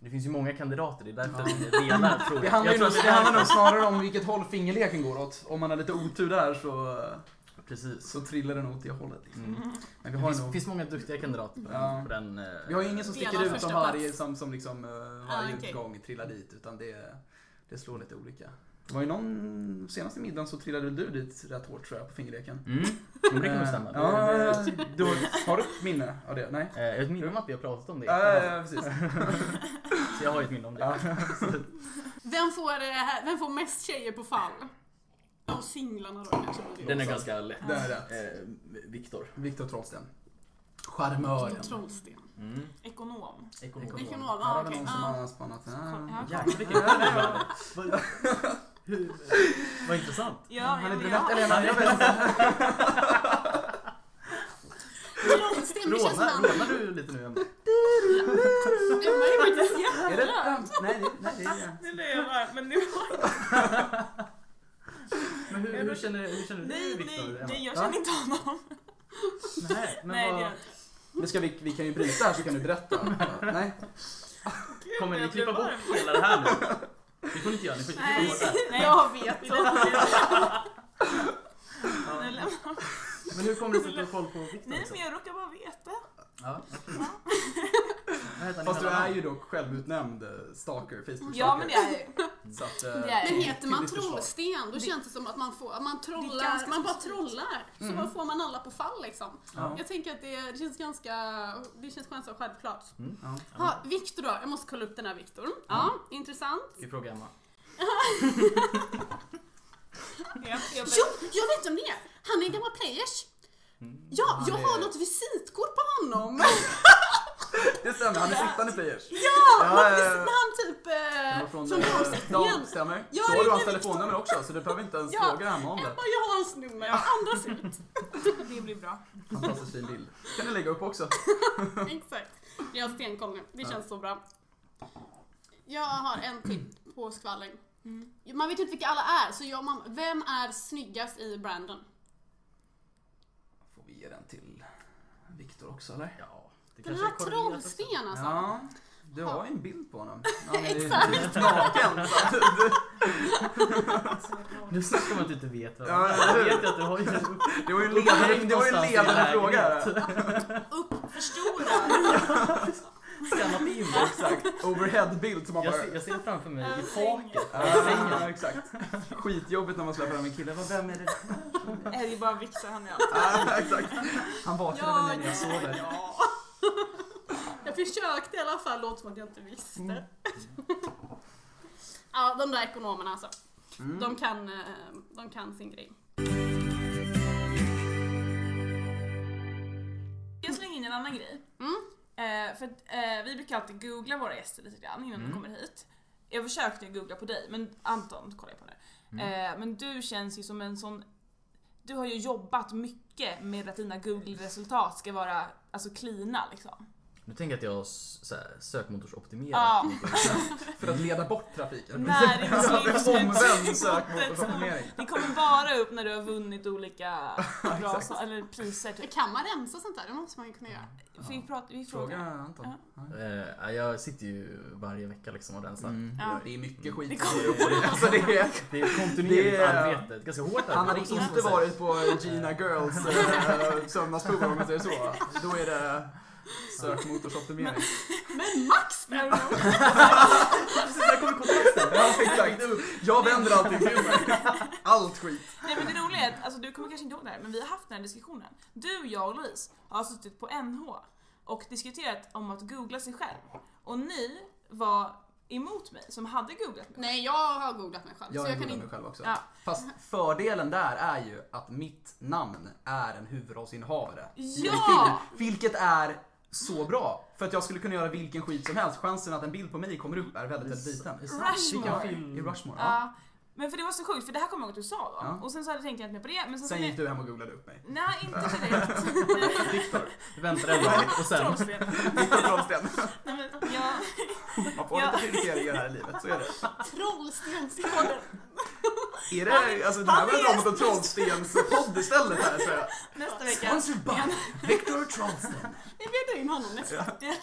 Speaker 5: Det finns ju många kandidater, det är därför
Speaker 4: Ja.
Speaker 5: vi delar frågan.
Speaker 4: Det handlar,
Speaker 5: Jag tror
Speaker 4: ju nog,
Speaker 5: att
Speaker 4: det handlar nog snarare om vilket håll fingerleken går åt. Om man har lite otur där så,
Speaker 5: Precis.
Speaker 4: så trillar den åt det hållet. Liksom.
Speaker 5: Mm.
Speaker 4: Men vi
Speaker 5: Det
Speaker 4: har,
Speaker 5: finns,
Speaker 4: nog,
Speaker 5: finns många duktiga kandidater på den.
Speaker 4: Ja.
Speaker 5: På den eh,
Speaker 4: vi har ju ingen som sticker
Speaker 2: Delar
Speaker 4: ut
Speaker 2: första
Speaker 4: som varje,
Speaker 2: plats.
Speaker 4: som, som liksom, eh, varje
Speaker 2: Ah, okej.
Speaker 4: utgång trillar dit. Utan det, det slår lite olika. Det var ju någon, senaste middagen så trillade du dit rätt hårt tror jag på fingerleken.
Speaker 5: Mm. Men det kan nog stämma.
Speaker 4: Eh,
Speaker 5: Det-
Speaker 4: Ja,
Speaker 5: det-
Speaker 4: ja, du, har du ett minne av det? Nej?
Speaker 5: Eh, Jag har ett minne om att vi har pratat om det.
Speaker 4: Ja, ja, ja, precis.
Speaker 5: Så jag har ju ett minne om det.
Speaker 4: Ja.
Speaker 2: Vem får, eh, vem får mest tjejer på fall? De singlarna då kanske. blir det.
Speaker 5: Den är ganska lätt.
Speaker 4: Den är rätt.
Speaker 5: Eh, Viktor.
Speaker 4: Viktor Trollsten.
Speaker 2: Vilken
Speaker 4: Charmören.
Speaker 2: Trollsten.
Speaker 5: Mm.
Speaker 1: Ekonom.
Speaker 5: Ekonom.
Speaker 2: Ekonom.
Speaker 4: Ekonom.
Speaker 2: ja,
Speaker 4: Här har vi
Speaker 2: okej.
Speaker 4: någon som
Speaker 2: Ja.
Speaker 4: har spannat.
Speaker 1: Ja.
Speaker 4: Ja.
Speaker 5: Jäklar vilken Vad- hur- Vad intressant.
Speaker 1: Ja,
Speaker 4: Han
Speaker 1: ja,
Speaker 4: är
Speaker 1: men
Speaker 4: brunett
Speaker 1: jag-
Speaker 4: eller är han- jag vet inte.
Speaker 2: Trollsten, det känns som
Speaker 5: Rånar
Speaker 2: han...
Speaker 5: rånar du lite nu Emma?
Speaker 2: Emma är faktiskt
Speaker 4: Är det ett skämt? Nej, det- nej, det är...
Speaker 1: Nu ljög jag bara, men nu
Speaker 5: Men hur, hur, känner, hur känner
Speaker 1: Nej,
Speaker 5: du Viktor?
Speaker 1: nej,
Speaker 5: Emma?
Speaker 1: nej, jag
Speaker 4: Va?
Speaker 1: känner inte honom.
Speaker 5: Nej, men
Speaker 1: Nej, det gör
Speaker 5: vad,
Speaker 1: jag inte.
Speaker 4: Men ska vi, vi kan ju bryta här så kan du berätta. Nej.
Speaker 1: Gud,
Speaker 5: kommer ni
Speaker 1: jag blev
Speaker 5: klippa bort
Speaker 1: varm.
Speaker 5: hela det här nu? Det får ni inte göra, ni får inte klippa
Speaker 1: Nej,
Speaker 5: bort det här.
Speaker 1: nej,
Speaker 2: Jag vet.
Speaker 1: vi lämnar det. Nu
Speaker 5: Ja.
Speaker 1: lämnar vi.
Speaker 5: Men hur kommer det sig att du har koll på Viktor?
Speaker 1: Nej,
Speaker 5: liksom?
Speaker 1: men jag råkar bara veta.
Speaker 5: Ja. Vad heter han i
Speaker 4: Fast du är
Speaker 5: mellannamn?
Speaker 4: ju dock självutnämnd eh, stalker, Facebook-stalker.
Speaker 1: Ja, men det är ju.
Speaker 4: Så att,
Speaker 1: det
Speaker 4: eh,
Speaker 1: är-
Speaker 2: Men
Speaker 4: till-
Speaker 2: heter
Speaker 4: till
Speaker 2: man
Speaker 4: ditt försvar.
Speaker 2: Trollsten då känns det som att man får, att man
Speaker 1: Det är
Speaker 2: trollar,
Speaker 1: ganska
Speaker 2: man bara
Speaker 1: specifikt.
Speaker 2: trollar. Så
Speaker 4: Mm.
Speaker 2: bara får man alla på fall liksom.
Speaker 4: Ja.
Speaker 2: Jag tänker att det, det känns ganska, det känns skönt och självklart.
Speaker 4: Ja.
Speaker 2: Ja, Viktor då, jag måste kolla upp den här Viktor. Ja, intressant.
Speaker 5: Ska vi fråga Emma?
Speaker 1: Jag, jag,
Speaker 2: Jo, jag vet om det är. Han är en gammal players. Ja,
Speaker 4: Han
Speaker 2: jag
Speaker 4: är-
Speaker 2: har något visitkort på honom.
Speaker 4: Det stämmer, han är sittande players.
Speaker 2: Eh, Ja,
Speaker 4: Ja,
Speaker 2: något
Speaker 4: ja, ja.
Speaker 2: visit- när han typ
Speaker 4: Han var
Speaker 2: eh,
Speaker 4: från
Speaker 2: från
Speaker 4: eh,
Speaker 2: Dalsland.
Speaker 4: Dan, stämmer.
Speaker 2: Ja,
Speaker 4: Så har du hans
Speaker 2: det är
Speaker 4: telefonnummer också så du behöver inte ens
Speaker 2: Ja.
Speaker 4: fråga hemma om det.
Speaker 2: Ebba, jag har hans nummer. Andas ut.
Speaker 1: det blir bra.
Speaker 4: Fantastiskt fin bild. kan du lägga upp också.
Speaker 2: Exakt. Jag har stenkoll nu. Det känns så bra. Jag har en till på skvallring.
Speaker 1: Mm.
Speaker 2: Man vet inte vilka alla är, så jag, man, vem är snyggast i Brandon?
Speaker 4: Får vi ge den till Viktor också eller?
Speaker 5: Ja. Det
Speaker 2: Den
Speaker 5: kanske
Speaker 2: här
Speaker 5: är korrelerat också.
Speaker 2: Trollsten alltså.
Speaker 4: Ja. Du har ju en bild på honom. Han är ju naken. så att du-
Speaker 3: Nu snackar man att du inte vet vad
Speaker 4: Ja,
Speaker 3: Jag
Speaker 4: eller hur?
Speaker 3: vet ju att du har ju en upp-
Speaker 4: Det var ju en ledande, det var ju en ledande fråga. här.
Speaker 1: Uppförstorad.
Speaker 3: Skannat in.
Speaker 4: Exakt. Overheadbild som man
Speaker 3: Jag
Speaker 4: bara...
Speaker 3: ser, jag ser framför mig i
Speaker 1: Över
Speaker 3: taket.
Speaker 4: Ja, exakt. Skitjobbigt när man släpper hem en kille. Vad vem är det?
Speaker 1: Nej, Det är bara Viktor han är.
Speaker 4: Ja, exakt. Han vaknade
Speaker 2: Ja,
Speaker 4: väl när jag
Speaker 2: ja,
Speaker 4: sover.
Speaker 2: Jag försökte i alla fall, låt som att jag inte visste.
Speaker 4: Mm.
Speaker 2: Ja, de där ekonomerna alltså.
Speaker 4: Mm.
Speaker 2: De kan, eh, de kan sin grej.
Speaker 1: Jag slänger in en annan grej.
Speaker 2: Mm.
Speaker 1: Eh, för att, eh, vi brukar alltid googla våra gäster lite grann innan de
Speaker 6: Mm.
Speaker 1: kommer hit. Jag försökte ju googla på dig, men Anton kollar jag på nu.
Speaker 3: Mm.
Speaker 4: Mm.
Speaker 1: Eh, men du känns ju som en sån... Du har ju jobbat mycket med att dina Google-resultat ska vara alltså cleana liksom.
Speaker 3: Nu tänker jag att jag s- så här, sökmotorsoptimerat.
Speaker 1: Ja.
Speaker 4: För att leda bort trafiken. Omvänd
Speaker 1: Näringslivsresultatet.
Speaker 4: sökmotorsoptimering.
Speaker 1: Det kommer bara upp när du har vunnit olika bra
Speaker 4: Exakt.
Speaker 1: så, eller priser. Typ.
Speaker 2: Kan man rensa sånt där? Det måste man ju kunna göra.
Speaker 1: Får vi prata? Vi
Speaker 4: Fråga
Speaker 1: frågar.
Speaker 4: Anton.
Speaker 3: Eh, jag sitter ju varje vecka liksom och rensar.
Speaker 4: Mm.
Speaker 1: Ja.
Speaker 4: Det är mycket skit.
Speaker 1: Det kommer-
Speaker 4: Alltså det är,
Speaker 3: Det är ett kontinuerligt
Speaker 4: Det är-
Speaker 3: arbete. Ett ganska hårt arbete.
Speaker 4: han hade
Speaker 3: också, måste
Speaker 4: inte
Speaker 3: man säga.
Speaker 4: varit på Gina Girls eh, sömnadsprover om man säger så. Då är det sökmotorsoptimering.
Speaker 2: Men Max däremot!
Speaker 3: Precis, där kommer kontrasten.
Speaker 4: Ja, exakt. Jag vänder allting till mig. Allt skit.
Speaker 1: Nej men det roliga är att, alltså, du kommer kanske inte ihåg det här, men vi har haft den här diskussionen. Du, jag och Louise har suttit på NH och diskuterat om att googla sig själv. Och ni var emot mig som hade googlat mig.
Speaker 2: Nej, jag har googlat mig själv.
Speaker 4: Jag
Speaker 2: så jag kan
Speaker 4: är mig
Speaker 2: inte...
Speaker 4: själv också.
Speaker 1: Ja.
Speaker 4: Fast fördelen där är ju att mitt namn är en huvudrollsinnehavare. i
Speaker 1: Ja!
Speaker 4: en film, Vilket är så bra. För att jag skulle kunna göra vilken skit som helst. Chansen att en bild på mig kommer upp är väldigt, väldigt liten.
Speaker 1: Rushmore.
Speaker 3: Vilken film?
Speaker 4: I Rushmore.
Speaker 1: Ja.
Speaker 4: Ja.
Speaker 1: Men för det var så sjukt, för det här kommer jag ihåg att du sa då.
Speaker 4: Ja.
Speaker 1: Och sen så hade- tänkte jag inte mer på det. Men sen, så
Speaker 4: Sen gick du hem och googlade upp mig.
Speaker 1: Nej, inte direkt. Nej,
Speaker 4: Viktor.
Speaker 3: Du väntar en dag och sen...
Speaker 1: Trots det.
Speaker 4: Viktor Trollsten.
Speaker 1: Nej, men jag,
Speaker 4: Man får
Speaker 1: Ja.
Speaker 4: lite prioriteringar här i livet, så är det.
Speaker 2: Trollstenspodden!
Speaker 4: Är det, alltså det här var en Robert och Trollstens-podd istället här tror jag.
Speaker 1: nästa vecka.
Speaker 4: Sponsored by Viktor Trollsten.
Speaker 2: Vi bjuder in honom nästa vecka.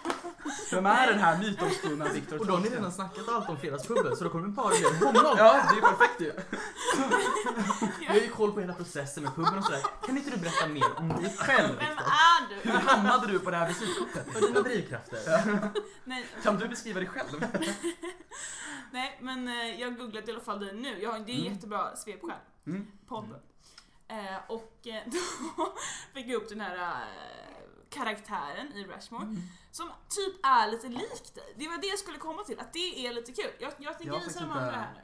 Speaker 4: Vem är den här mytomspunna Viktor
Speaker 3: Och då har ni
Speaker 4: Trollsten?
Speaker 3: redan snackat allt om fredagspuben så då kommer vi bara göra honom.
Speaker 4: Ja, det är ju perfekt ju.
Speaker 3: Vi har ju koll på hela processen med puben och sådär. Kan inte du berätta mer om dig själv
Speaker 1: Vem
Speaker 3: Viktor?
Speaker 1: är du?
Speaker 4: Hur hamnade du på det här visitkortet?
Speaker 3: Och dina drivkrafter?
Speaker 1: Nej,
Speaker 4: Kan du beskriva dig själv?
Speaker 1: nej men eh, jag har googlat i alla fall dig nu. Jag har, det är
Speaker 4: Mm.
Speaker 1: jättebra svepskäl.
Speaker 4: Mm.
Speaker 1: Podd. Eh, och eh, då fick jag upp den här eh, karaktären i Rashmore
Speaker 4: Mm.
Speaker 1: som typ är lite lik dig. Det var det jag skulle komma till, att det är lite kul. Jag, jag tänker
Speaker 4: Jag
Speaker 1: visa
Speaker 4: fick
Speaker 1: de
Speaker 4: inte-
Speaker 1: andra här nu.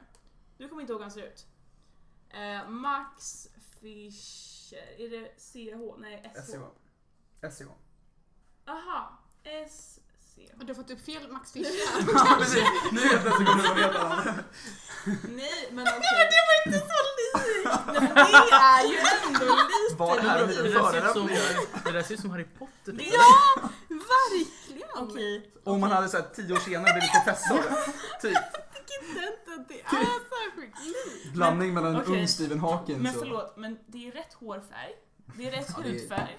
Speaker 1: Du kommer inte ihåg hur han ser ut. Eh, Max Fischer, är det CH? Nej,
Speaker 4: E
Speaker 1: SH.
Speaker 4: SEO.
Speaker 1: Aha, SCH.
Speaker 2: Och Du har fått upp fel Max Fischer.
Speaker 4: Ja, precis. Nu helt plötsligt kommer du att veta allt.
Speaker 1: Nej men okej. Nej men det var inte så likt! Nej men det är ju ändå lite
Speaker 4: Vad är
Speaker 3: Det
Speaker 4: det
Speaker 3: där
Speaker 4: för
Speaker 3: ser ut som-
Speaker 4: förolämpningar?
Speaker 3: det där ser ut som Harry Potter. typ.
Speaker 1: Ja!
Speaker 2: Verkligen!
Speaker 1: Okej,
Speaker 4: Om man hade sett tio år senare blivit professor. Typ.
Speaker 2: Det är inte att det är särskilt likt.
Speaker 4: Blandning mellan en
Speaker 1: okej.
Speaker 4: ung Stephen Hawking
Speaker 1: men
Speaker 4: och-
Speaker 1: förlåt men det är rätt hårfärg. Det är rätt
Speaker 4: Ja, det är-
Speaker 1: hudfärg.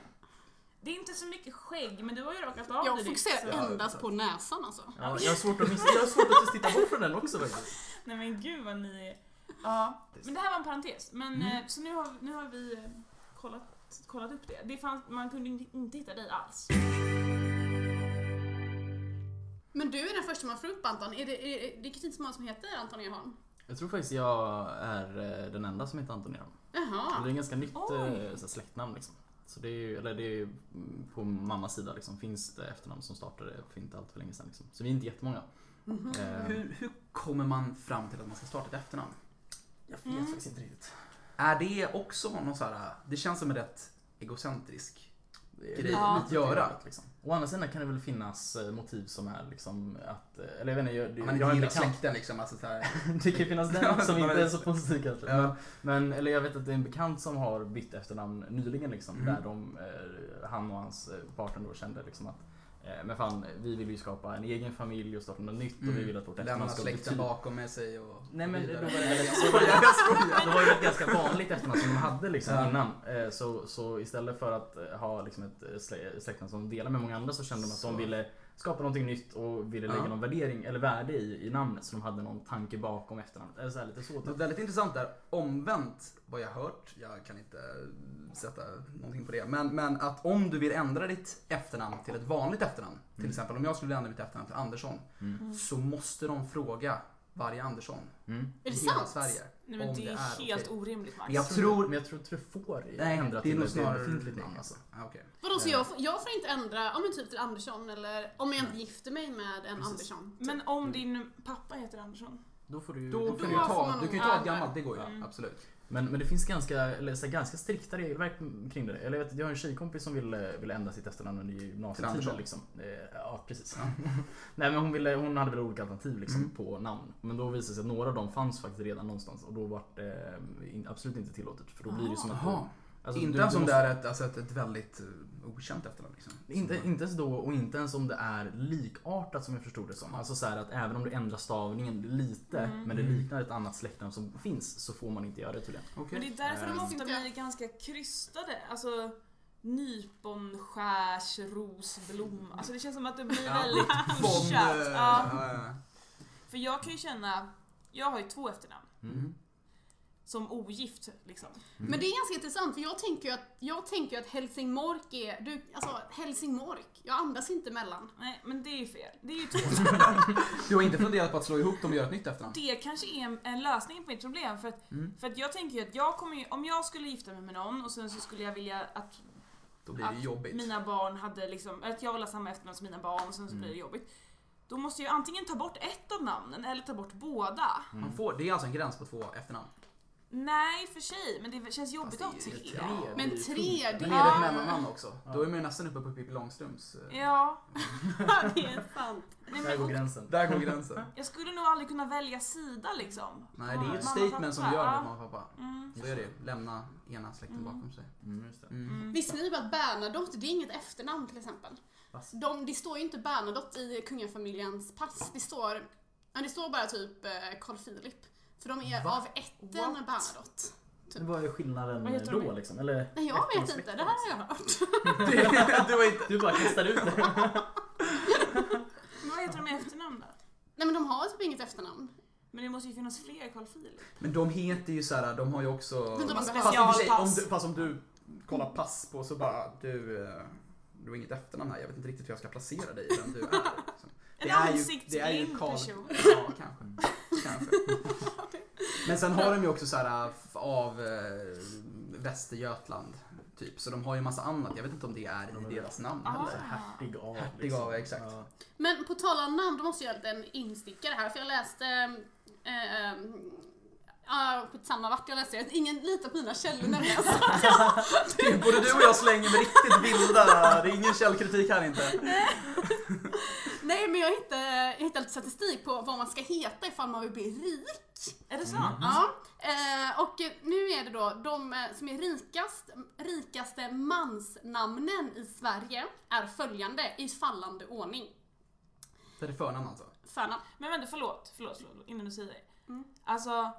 Speaker 1: Det är inte så mycket skägg men du har ju rakat av
Speaker 2: Jag
Speaker 1: dig ditt,
Speaker 2: fokuserar
Speaker 1: så-
Speaker 4: Ja,
Speaker 2: endast
Speaker 4: exakt.
Speaker 2: på näsan alltså.
Speaker 3: Ja, jag har svårt att, miss- jag har svårt att titta bort från den också faktiskt.
Speaker 1: Nej men gud vad ni är. Ja, men det här var en parentes. Men
Speaker 4: Mm.
Speaker 1: eh, så nu har, nu har vi eh, kollat, kollat upp det. det fanns, man kunde inte- inte hitta dig alls.
Speaker 2: Men du är den första man får upp Anton. Är det, är, det är kanske inte så många som heter Anton Erholm.
Speaker 3: Jag tror faktiskt jag är eh, den enda som heter Anton Ehrman. Det är
Speaker 2: Jaha.
Speaker 3: en ganska nytt eh,
Speaker 1: Oj.
Speaker 3: så här, släktnamn liksom. Så det är ju, eller det är ju mm, på mammas sida liksom, finns det efternamn som startade för inte allt för länge sedan. Liksom. Så vi är inte jättemånga. Eh,
Speaker 4: Hur, hur kommer man fram till att man ska starta ett efternamn?
Speaker 3: Jag vet
Speaker 1: Mm.
Speaker 3: faktiskt inte riktigt.
Speaker 4: Är det också någon så här, det känns som en rätt egocentrisk grej
Speaker 1: Ja.
Speaker 4: att göra.
Speaker 3: Att, liksom. Å andra sidan kan det väl finnas eh, motiv som är liksom att, eh, eller jag vet inte, jag, det,
Speaker 4: Om man
Speaker 3: jag är
Speaker 4: inte gillar
Speaker 3: inte bekant.
Speaker 4: släkten liksom. Alltså, så här.
Speaker 3: Det kan ju finnas
Speaker 4: Ja,
Speaker 3: den som
Speaker 4: man
Speaker 3: inte
Speaker 4: vet
Speaker 3: är så
Speaker 4: det.
Speaker 3: positiv kanske.
Speaker 4: Ja.
Speaker 3: Men, eller jag vet att det är en bekant som har bytt efternamn nyligen liksom.
Speaker 4: Mm.
Speaker 3: Där de, eh, han och hans eh, partner då kände liksom att eh, men fan, vi vill ju skapa en egen familj och starta något nytt och vi vill att vårt
Speaker 4: Mm. Lämna
Speaker 3: efternamn ska
Speaker 4: släkten
Speaker 3: betyda...
Speaker 4: bakom med sig och
Speaker 3: Nej men då
Speaker 4: vidare.
Speaker 3: var det,
Speaker 4: Jag skojar, jag skojar.
Speaker 3: det var ju ett ganska vanligt efternamn som de hade liksom
Speaker 4: Ja.
Speaker 3: innan. Eh, Så, så istället för att eh, ha liksom ett eh, slä- släktnamn som de delar med många andra så kände de att
Speaker 4: Så.
Speaker 3: de ville skapa någonting nytt och ville lägga
Speaker 4: Ja.
Speaker 3: någon värdering eller värde i, i namnet så de hade någon tanke bakom efternamnet. Eller så här, lite så typ.
Speaker 4: Något väldigt intressant där, omvänt vad jag hört, jag kan inte sätta någonting på det, men, men att om du vill ändra ditt efternamn till ett vanligt efternamn, till
Speaker 3: Mm.
Speaker 4: exempel om jag skulle ändra mitt efternamn till Andersson,
Speaker 3: Mm.
Speaker 1: Mm.
Speaker 4: så måste de fråga varje Andersson
Speaker 3: Mm.
Speaker 2: Är
Speaker 4: i
Speaker 2: det
Speaker 4: hela
Speaker 2: sant?
Speaker 4: Sverige.
Speaker 1: Nej men
Speaker 4: Om
Speaker 1: det
Speaker 4: det
Speaker 1: är
Speaker 4: är
Speaker 1: helt
Speaker 4: okej.
Speaker 1: orimligt Max.
Speaker 4: Men jag tror...
Speaker 3: Men jag tror inte du får
Speaker 4: Nej,
Speaker 3: ändra
Speaker 4: det är
Speaker 3: till
Speaker 4: nog
Speaker 3: ett
Speaker 4: snarare...
Speaker 3: befintligt namn alltså.
Speaker 4: Ah, okej.
Speaker 2: Vadå så jag, får- jag får inte ändra, ja men typ till Andersson eller om jag inte gifter mig med en
Speaker 4: Precis.
Speaker 2: Andersson. typ.
Speaker 1: Men om din pappa heter Andersson?
Speaker 3: Då får du,
Speaker 4: Då
Speaker 3: då
Speaker 4: kan
Speaker 3: får
Speaker 4: du
Speaker 3: du
Speaker 4: ju
Speaker 2: får
Speaker 4: ta,
Speaker 2: man
Speaker 4: du
Speaker 2: nog
Speaker 4: kan ju ta ett
Speaker 2: ändra.
Speaker 4: gammalt, det går ju.
Speaker 1: Mm.
Speaker 4: Absolut.
Speaker 3: Men, men det finns ganska, eller, så här, ganska strikta regelverk kring det. Eller, jag, vet, jag har en tjejkompis som ville, ville ändra sitt efternamn under
Speaker 4: Andersson.
Speaker 3: gymnasietiden. Liksom. Eh, Ja, precis. Nej, men hon, ville, hon hade väl olika alternativ liksom,
Speaker 4: Mm.
Speaker 3: på namn. Men då visade det sig att några av dem fanns faktiskt redan någonstans och då var det eh, in, absolut inte tillåtet. För då blir det ju som att...
Speaker 4: Jaha.
Speaker 3: Alltså,
Speaker 4: inte
Speaker 3: du-
Speaker 4: ens
Speaker 3: du
Speaker 4: om det
Speaker 3: måste-
Speaker 4: är ett, alltså ett, ett väldigt eh, okänt efternamn liksom.
Speaker 3: Inte, inte ens då och inte ens om det är likartat som jag förstod det som. Alltså så här att även om du ändrar stavningen lite
Speaker 1: Mm.
Speaker 3: men det liknar ett annat släktnamn som finns så får man inte göra det tydligen.
Speaker 1: Men det
Speaker 4: Okej. Äh.
Speaker 1: är därför de
Speaker 3: Eh.
Speaker 1: ofta blir ganska krystade. Alltså nyponskärs rosblom. Alltså det känns som att det blir
Speaker 4: Ja.
Speaker 1: väldigt
Speaker 4: Bon, eh,
Speaker 1: pushat. Ja.
Speaker 4: ja, ja,
Speaker 1: För jag kan ju känna, jag har ju två efternamn.
Speaker 4: ja.
Speaker 3: Mm.
Speaker 1: Som ogift liksom.
Speaker 4: Mm.
Speaker 2: Men det är ganska intressant för jag tänker ju att, jag tänker ju att Helsingborg är, du, alltså Helsingborg, jag andas inte mellan.
Speaker 1: Nej men det är ju fel. Det är ju två.
Speaker 4: Du har inte funderat på att slå ihop dem och göra ett nytt efternamn?
Speaker 1: Det kanske är en- en lösning på mitt problem för att,
Speaker 4: Mm.
Speaker 1: för att jag tänker ju att jag kommer ju, om jag skulle gifta mig med någon och sen så skulle jag vilja att
Speaker 4: Då blir det ju
Speaker 1: Att
Speaker 4: jobbigt.
Speaker 1: mina barn hade liksom, att jag vill ha samma efternamn som mina barn och sen så blir det
Speaker 4: Mm.
Speaker 1: jobbigt. Då måste jag antingen ta bort ett av namnen eller ta bort båda.
Speaker 4: Man får, det är alltså en gräns på två efternamn.
Speaker 1: Nej i och för sig, men det känns jobbigt att ha
Speaker 4: Fast det är ju
Speaker 1: tre.
Speaker 4: tre.
Speaker 1: Ja.
Speaker 2: Men tre, det
Speaker 4: Men är det ett
Speaker 2: är...
Speaker 4: mellannamn också? Då är man ju nästan uppe på Pippi Långstrumps. eh,
Speaker 1: Ja.
Speaker 2: det är sant.
Speaker 1: Nej,
Speaker 3: Där
Speaker 1: men,
Speaker 3: går
Speaker 1: och,
Speaker 3: gränsen.
Speaker 4: Där går gränsen.
Speaker 1: jag skulle nog aldrig kunna välja sida liksom.
Speaker 4: Nej, det är ju ett
Speaker 1: Mamma,
Speaker 4: statement som du
Speaker 1: pappa,
Speaker 4: gör
Speaker 1: ja.
Speaker 4: mot mamma och pappa.
Speaker 1: Mm.
Speaker 4: Så är det ju. Lämna ena släkten
Speaker 1: Mm.
Speaker 4: bakom sig.
Speaker 3: Mm, just det.
Speaker 4: Mm.
Speaker 1: Mm.
Speaker 2: Visste ni bara att Bernadotte, det är inget efternamn till exempel?
Speaker 3: Pass.
Speaker 2: De, det står ju inte Bernadotte i kungafamiljens pass. Det står, ja, det står bara typ eh, Carl Philip. För de är
Speaker 3: Va?
Speaker 2: av ätten
Speaker 1: What?
Speaker 2: Bernadotte. Typ.
Speaker 3: Men Vad är skillnaden
Speaker 1: Vad heter
Speaker 3: då
Speaker 1: de?
Speaker 3: liksom? Eller,
Speaker 2: Nej, jag
Speaker 3: ätten och
Speaker 2: vet inte.
Speaker 3: släkten,
Speaker 2: Det här har jag hört.
Speaker 4: Det- du var inte...
Speaker 3: Du bara kastar ut det.
Speaker 5: Mm.
Speaker 1: Men Vad heter de i efternamn då?
Speaker 2: Nej, men de har typ inget efternamn.
Speaker 1: Men det måste ju finnas fler Carl Philip.
Speaker 4: Men de heter ju såhär, de har ju också...
Speaker 2: Men de har
Speaker 4: Fast i och
Speaker 1: specialpass.
Speaker 4: för sig, om du- Fast om du kollar pass på så bara, du... eh, Du har inget efternamn här, jag vet inte riktigt hur jag ska placera dig i vem du är. liksom.
Speaker 1: En
Speaker 4: är ju- det är ju
Speaker 1: ansiktsblind
Speaker 4: Carl-
Speaker 1: person.
Speaker 4: Ja, kanske. kanske. Men sen har de ju också så här f- av eh, Västergötland, typ. Så de har ju massa annat. Jag vet inte om det är i deras namn
Speaker 1: Ah.
Speaker 4: heller.
Speaker 3: Hertig av.
Speaker 4: Hertig
Speaker 5: liksom.
Speaker 4: av, exakt.
Speaker 3: Ja.
Speaker 2: Men på tal om namn, då måste jag göra en liten instickare här. För jag läste... Eh, eh, Ja, samma vart jag läste det. Ingen litar på mina källor nämligen.
Speaker 4: Gud, Både du och jag slänger med riktigt vilda, det är ingen källkritik här inte.
Speaker 2: Nej, men jag hittade, jag hittade lite statistik på vad man ska heta ifall man vill bli rik.
Speaker 1: Är det
Speaker 4: Mm.
Speaker 1: sant?
Speaker 2: Ja, eh, och nu är det då de eh, som är rikast, rikaste mansnamnen i Sverige är följande i fallande ordning.
Speaker 4: Det är förnamn alltså.
Speaker 2: Förnamn.
Speaker 1: Men vänta, förlåt, förlåt, förlåt innan du säger det.
Speaker 2: Mm.
Speaker 1: Alltså,